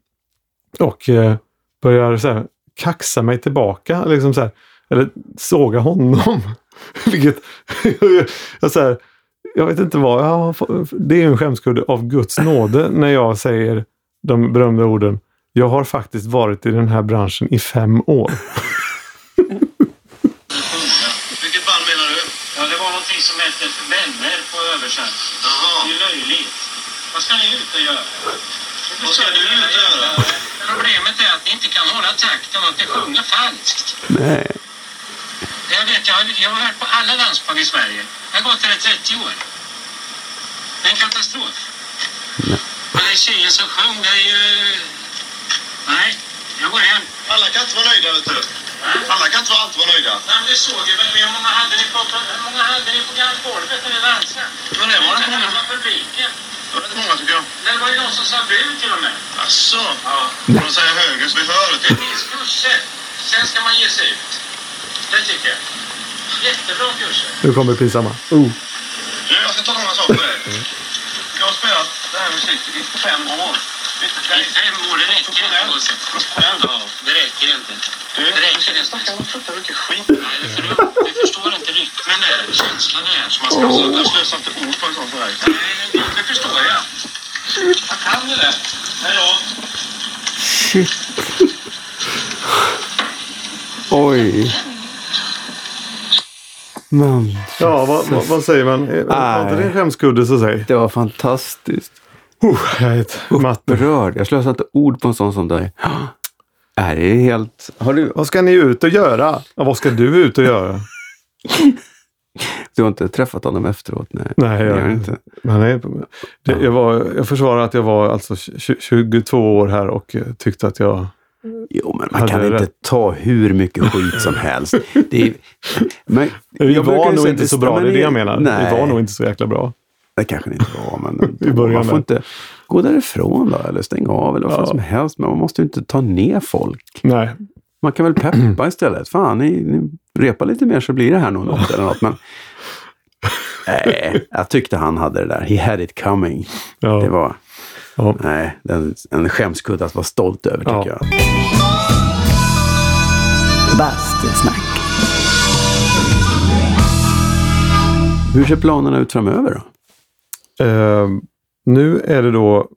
A: Och eh, börjar så här, kaxa mig tillbaka. Liksom så här, eller såga honom. Vilket... jag, så här, jag vet inte vad. Jag har, fått- det är ju en skämskudde av Guds nåde när jag säger de berömda orden. Jag har faktiskt varit i den här branschen i fem år.
F: Vilket band menar du? Ja, det var någonting som hette Vänner på översatt. Jaha. Det är löjligt. Vad ska ni ut och göra? Vad ska du ut och göra? Problemet är att ni inte kan hålla takten och att ni sjunger falskt.
C: Nej.
F: Jag vet, jag har, jag har varit på alla dansband i Sverige. Jag har gått där i 30 år. Det är en katastrof. Men det är tjejen som sjöng, det är ju... Nej, jag går hem.
G: Alla kan inte vara nöjda, vet du. Alla kan inte vara alltid vara nöjda.
F: Nej, men det såg jag väl. Hur många hade ni på, hur många hade ni på golvet när vi dansade?
G: Men det var inte många.
F: Det var publiken.
G: Det var inte många, tycker jag.
F: Det var ju de som sa bu till och med.
G: Asså?
F: Ja.
G: De säger höger så vi hör det.
F: Minns kurser. Sen ska man ge sig ut. Det tycker jag. Jättebra kurser.
A: Nu kommer det pinsamma. Oh.
G: Du, jag ska tala om en sak med dig.
F: Mm.
G: Jag har spelat den här musiken i fem år.
F: I fem år, det räcker inte. Bosse. Ja, det räcker inte.
G: Du,
F: Det
G: du
F: räcker
G: sitter och
F: inte.
G: snackar om fruktansvärt mycket skit.
F: Nej, det är för du, du förstår inte rytmen där, känslan där som man ska
G: Alltså,
F: ha.
G: jag slösar inte ord på en sån som dig.
F: Nej, det förstår jag. Jag kan det där. Hej då.
C: Oj. Men,
A: Ja, vad, vad, vad säger man? Är- Var inte det en skämskudde så säg.
C: det var fantastiskt.
A: Oh, jag är ett matte.
C: Berörd. Jag slösar inte ord på en sån som dig. Nej, det är helt...
A: Har du, vad ska ni ut och göra? Ja, vad ska du ut och göra?
C: Du har inte träffat honom efteråt? Nej,
A: Nej,
C: jag
A: jag-
C: har inte.
A: Men nej, det, jag, var, jag försvarar att jag var alltså tj- 22 år här och eh, tyckte att jag...
C: Jo, men man
A: Hade
C: kan
A: jag
C: inte
A: rätt?
C: ta hur mycket skit som helst. Det är, men,
A: Vi
C: jag brukar
A: var
C: ju
A: nog
C: säga
A: inte
C: att
A: så bra,
C: men
A: det är det jag menar.
C: Nej,
A: Vi var nog inte så jäkla bra.
C: det kanske det inte var, men
A: I början
C: man får
A: där.
C: inte gå därifrån då, eller stänga av eller vad fan
A: Ja.
C: som helst. Men man måste ju inte ta ner folk.
A: Nej,
C: Man kan väl peppa istället. Fan, ni, ni repar lite mer så blir det här nog något eller något. Men, nej, jag tyckte han hade det där. He had it coming.
A: Ja.
C: Det var...
A: Ja.
C: Nej, en, en skämskudde att vara stolt över tycker
A: Ja.
C: jag.
B: Bastusnack.
C: Hur ser planerna ut framöver då?
A: Eh, nu är det då,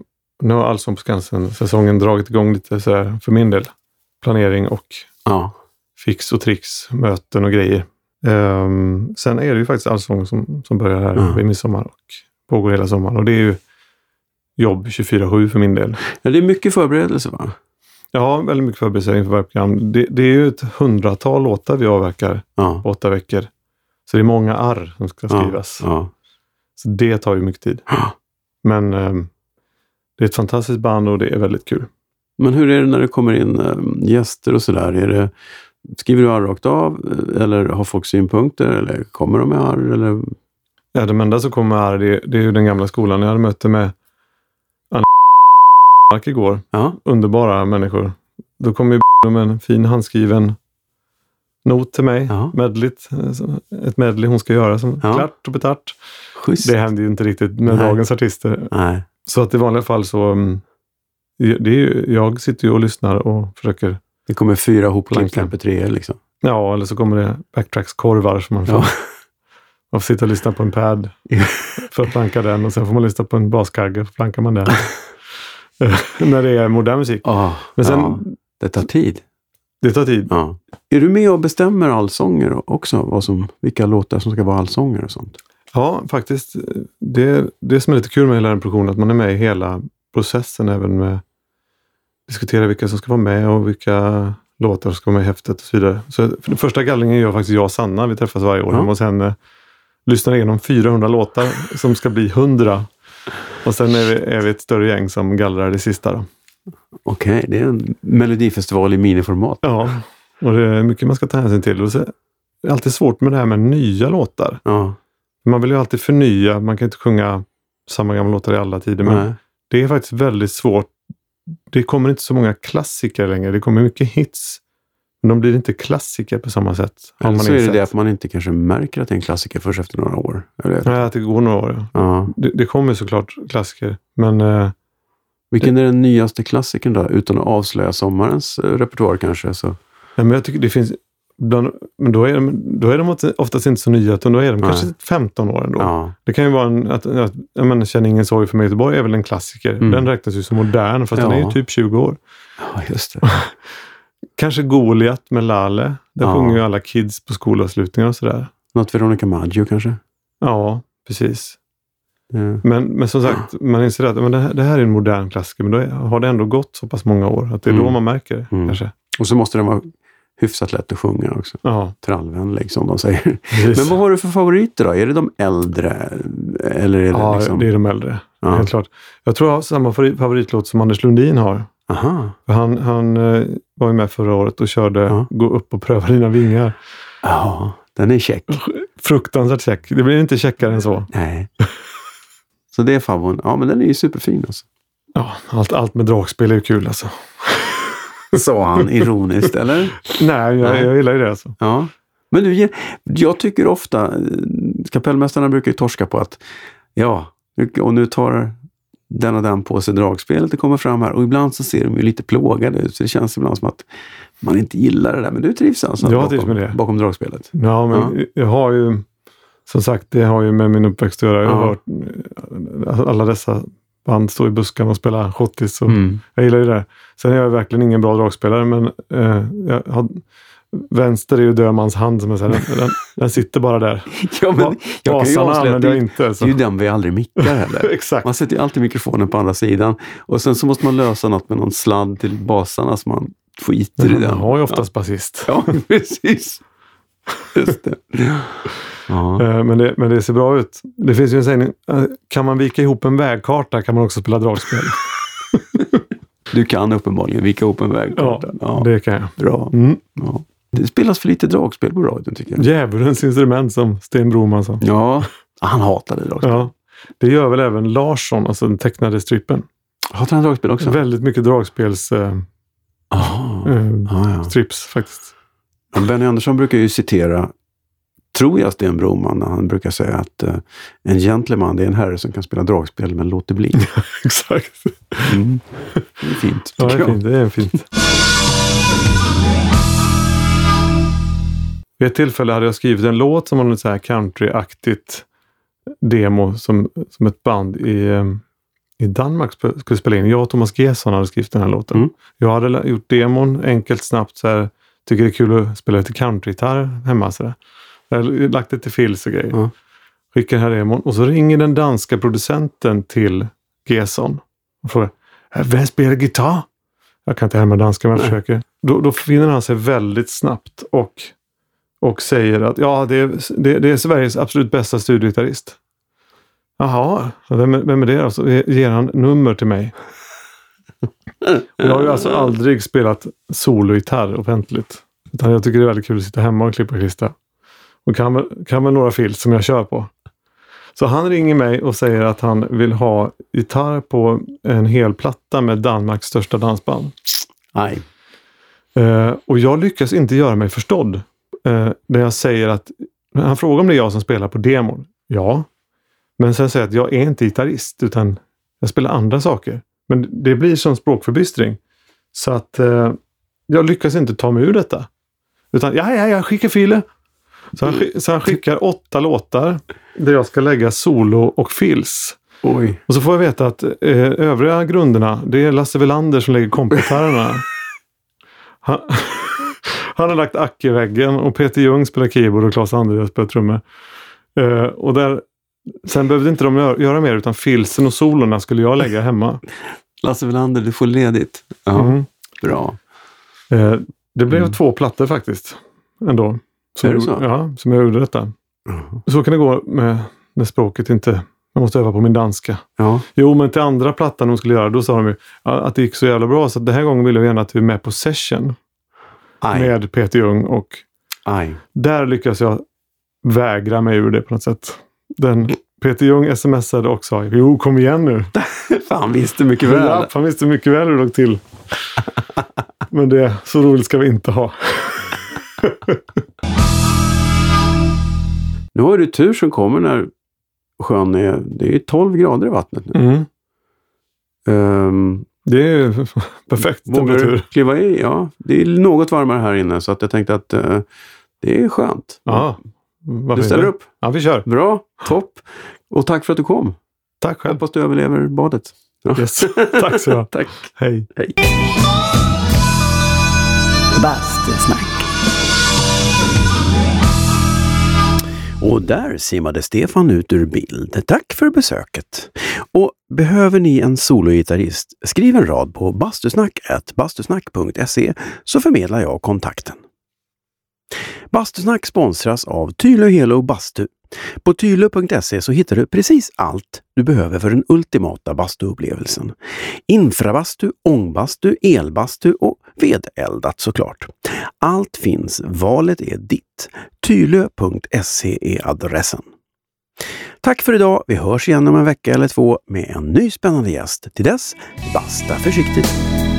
A: nu har Allsång på Skansen-säsongen dragit igång lite så här för min del. Planering och
C: Ja.
A: fix och tricks, möten och grejer. Eh, sen är det ju faktiskt Allsång som, som börjar här
C: Mm.
A: vid midsommar och pågår hela sommaren. Och det är ju jobb 24-7 för min del.
C: ja, det är mycket förberedelse va?
A: Jag har väldigt mycket förberedelser inför varje program. Det, det är ju ett hundratal låtar vi avverkar
C: Ja.
A: på åtta veckor. Så det är många arr som ska skrivas.
C: Ja.
A: Så det tar ju mycket tid.
C: Ja.
A: Men ehm, det är ett fantastiskt band och det är väldigt kul.
C: Men hur är det när det kommer in eh, gäster och sådär? Är det, skriver du arr rakt av eh, eller har folk synpunkter eller kommer de med arr? Eller?
A: Ja, de enda som kommer här, det, det är ju den gamla skolan. Jag hade möte med Anna Mark igår.
C: Ja.
A: Underbara människor. Då kom ju med en fin handskriven not till mig.
C: Ja.
A: Medligt, eh, som- ett medley hon ska göra. Som
C: Ja.
A: Klart och betart.
C: Schysst.
A: Det händer ju inte riktigt med
C: Nej.
A: dagens artister.
C: Nej.
A: Så att i vanliga fall så... mm, Det är ju, jag sitter ju och lyssnar och försöker
C: Det kommer fyra hopklippta
A: Plankan.
C: mp 3 liksom.
A: Ja, eller så kommer det backtracks-korvar som man får.
C: Ja.
A: Man får sitta och lyssna på en pad för att planka den och sen får man lyssna på en baskagge för plankar man den. Eh, När det är modern musik.
C: Ah,
A: Men sen,
C: ja. Det tar tid.
A: det tar tid.
C: Ja. Är du med och bestämmer allsånger också? Vad som, vilka låtar som ska vara allsånger och sånt?
A: Ja, faktiskt. Det, det som är lite kul med hela den produktionen, att man är med i hela processen även med diskutera vilka som ska vara med och vilka låtar som kommer med i häftet och så vidare. Så för den första gallringen gör faktiskt jag och Sanna. Vi träffas varje år
C: Ja.
A: hemma hos henne. Lyssnar igenom 400 låtar som ska bli 100. Och sen är vi, är vi ett större gäng som gallrar det sista. Då.
C: Okej, det är en melodifestival i miniformat.
A: Ja, och det är mycket man ska ta hänsyn till. Och så, det är alltid svårt med det här med nya låtar.
C: Ja,
A: Man vill ju alltid förnya. Man kan inte sjunga samma gamla låtar i alla tider. Men
C: nej.
A: det är faktiskt väldigt svårt. Det kommer inte så många klassiker längre. Det kommer mycket hits. Men de blir inte klassiker på samma sätt. har
C: Eller
A: man
C: så är det
A: insett.
C: det att man inte kanske märker att det är en klassiker först efter några år. Eller?
A: Nej, att det går några år. ja.
C: Ja.
A: Det, det kommer såklart klassiker. Men eh,
C: Vilken är den nyaste klassikern då? Utan att avslöja sommarens eh, repertoar kanske. Så.
A: Ja, men jag tycker det finns... Bland, men då är, de, då är de oftast inte så nya, utan då är de
C: Nej.
A: kanske 15 år ändå.
C: Ja.
A: Det kan ju vara en, att, att jag menar, Känn ingen sorg för mig i Göteborg är väl en klassiker.
C: Mm.
A: Den räknas ju som modern, fast den
C: Ja.
A: är ju typ 20 år.
C: ja, just det.
A: Kanske Goliat med Lale. Där
C: Ja.
A: sjunger ju alla kids på skolavslutningar och sådär.
C: Något Veronica Maggio kanske? Eh.
A: Ja, precis.
C: Ja.
A: Men, men som sagt,
C: Mm.
A: man inser att men det, här, det här är en modern klassiker, men då är, har det ändå gått så pass många år att det är då
C: Mm.
A: man märker det.
C: Mm.
A: Kanske.
C: Och så måste den vara hyfsat lätt att sjunga också.
A: Ja,
C: Trallvänlig som de säger.
A: precis.
C: Men vad har du för favoriter då? Är det de äldre? Eller är det
A: ja,
C: liksom...
A: det är de äldre.
C: Ja.
A: Helt klart. Jag tror jag har samma favori- favoritlåt som Anders Lundin har.
C: Aha.
A: För Han, han eh, var ju med förra året och körde
C: Ja.
A: Gå upp och pröva dina vingar.
C: Ja, den är check.
A: Fruktansvärt check. Det blir inte checkare än så.
C: Nej. Så det är favon. Ja, men den är ju superfin alltså.
A: Ja, allt, allt med dragspel är ju kul alltså.
C: Sa han ironiskt, eller?
A: Nej, jag,
C: Nej.
A: jag gillar ju det alltså.
C: Ja. Men du, jag tycker ofta, eh, kapellmästarna brukar ju torska på att, ja, nu- och nu tar den och den på sig dragspelet och kommer fram här. Och ibland så ser de ju lite plågade ut, så det känns ibland som att man inte gillar det där. Men du trivs alltså
A: Jag
C: bakom,
A: trivs med det.
C: bakom dragspelet?
A: Ja, men jag har ju... Som sagt, det har ju med min uppväxt att göra. Jag har
C: Ja.
A: hört eh, alla dessa band stå i buskarna och spela schottis. Och
C: Mm.
A: Jag gillar ju det. Sen är jag verkligen ingen bra dragspelare, men eh, jag har, vänster är ju dömans hand, som jag säger. Den, den, den sitter bara där.
C: Ja, men jag kan ju
A: Basarna
C: avslöja att
A: använder jag
C: det,
A: inte.
C: det
A: Så.
C: är ju den vi aldrig mickar heller.
A: Exakt.
C: Man sätter ju alltid mikrofonen på andra sidan och sen så måste man lösa något med någon sladd till basarna så man skiter i
A: Men
C: den.
A: Mm, man har ju oftast basist.
C: Ja, precis. Just det. Ja.
A: Eh, Men det, men det ser bra ut. Det finns ju en sägning. eh, Kan man vika ihop en vägkarta kan man också spela dragspel.
C: Du kan uppenbarligen vika ihop en väg.
A: Ja,
C: ja
A: det kan jag.
C: Bra.
A: Mm.
C: Ja. Det spelas för lite dragspel på radion tycker jag.
A: Djävulens instrument som Sten Broman sa.
C: Ja, Ah, han hatade dragspel.
A: Ja. Det gör väl även Larsson, alltså den tecknade strippen.
C: Hatar han dragspel också?
A: Väldigt mycket dragspels eh,
C: Ah,
A: eh,
C: ja,
A: strips faktiskt.
C: ja. Benny Andersson brukar ju citera, tror jag, Sten Broman när han brukar säga att eh, en gentleman det är en herre som kan spela dragspel men låt det bli.
A: Exakt.
C: Mm. Det är fint.
A: Ja, det
C: tycker
A: är
C: jag.
A: fint. Det är fint. Vid ett tillfälle hade jag skrivit en låt som var något så här countryaktigt demo som, som ett band i, eh, i Danmark sp- skulle spela in. Jag och Thomas Gesson hade skrivit den här låten.
C: Mm.
A: Jag hade la- gjort demon enkelt, snabbt. Så här, tycker det är kul att spela lite countrygitarr hemma. Så där. Jag hade lagt det till fills och grejer.
C: Ja.
A: Skickar den här demon och så ringer den danska producenten till Gesson och frågar "Äh, Vem spelar gitarr? Jag kan inte härma danska men jag
C: Nej.
A: försöker. Då, då finner han sig väldigt snabbt och, och säger att ja, det är, det, det är Sveriges absolut bästa studiogitarrist. Jaha, vem, är- vem är det då? Så ger han nummer till mig. Och jag har ju alltså aldrig spelat sologitarr offentligt. Utan jag tycker det är väldigt kul att sitta hemma och klippa och klistra. Och kan väl, kan väl några fills som jag kör på. Så han ringer mig och säger att han vill ha gitarr på en hel platta med Danmarks största dansband.
C: Nej.
A: Eh, och jag lyckas inte göra mig förstådd. Eh, när jag säger att... när Han frågar om det är jag som spelar på demon. Ja. Men sen säger jag att jag är inte gitarrist utan jag spelar andra saker. Men det blir som språkförbistring. Så att eh, jag lyckas inte ta mig ur detta. Utan ja, ja, jag skickar filer. Så han, skick- så han skickar åtta låtar där jag ska lägga solo och fills.
C: Oj.
A: Och så får jag veta att eh, övriga grunderna, det är Lasse Welander som lägger kompgitarrerna. Han, han har lagt Ack i väggen och Peter Ljung spelar keyboard och Claes Andersson spelar trummor. Eh, och där, sen behövde inte de gö- göra mer utan filsen och solorna skulle jag lägga hemma.
C: Lasse Welander, du får ledigt. Ja,
A: Mm.
C: Bra.
A: Eh, Det blev två plattor faktiskt. Ändå. Som
H: Mm. Är det
A: jag-
H: så?
A: Ja, som jag gjorde detta.
H: Jaha.
A: Så kan det gå med när språket inte... Jag måste öva på min danska.
H: Ja,
A: Jo, men till andra plattan de skulle göra, då sa de ju ja, att det gick så jävla bra så att den här gången vill jag gärna att du är med på session
H: aj,
A: med Peter Jung och
H: aj.
A: där lyckas jag vägra mig ur det på något sätt. Den Peter Jung smsade och sa jo, kom igen nu.
H: Fan, visste mycket väl.
A: Ja, han visste mycket väl hur det låg till. Men det, så roligt ska vi inte ha.
H: Nu har du tur som kommer när sjön är... Det är 12 grader i vattnet nu.
A: Mm.
H: Ehm,
A: Det är ju perfekt
H: vågar du
A: temperatur.
H: kliva i? Ja, det är något varmare här inne så att jag tänkte att eh, det är skönt.
A: Ja, varför
H: Du ställer
A: inte?
H: upp.
A: Ja, vi kör.
H: Bra, topp. Och tack för att du kom.
A: Tack själv.
H: Hoppas du överlever badet. Ja.
A: Yes. Tack så mycket.
H: Tack.
A: Hej.
B: Bastusnack.
C: Och där simmade Stefan ut ur bild. Tack för besöket! Och behöver ni en sologitarrist, skriv en rad på bastusnack.bastusnack.se så förmedlar jag kontakten. Bastusnack sponsras av Tylö Helo Bastu. På tylö.se så hittar du precis allt du behöver för den ultimata bastuupplevelsen. Infrabastu, ångbastu, elbastu och vedeldat såklart. Allt finns, valet är ditt. Tylö.se E är adressen. Tack för idag. Vi hörs igen om en vecka eller två med en ny spännande gäst. Till dess, basta försiktigt!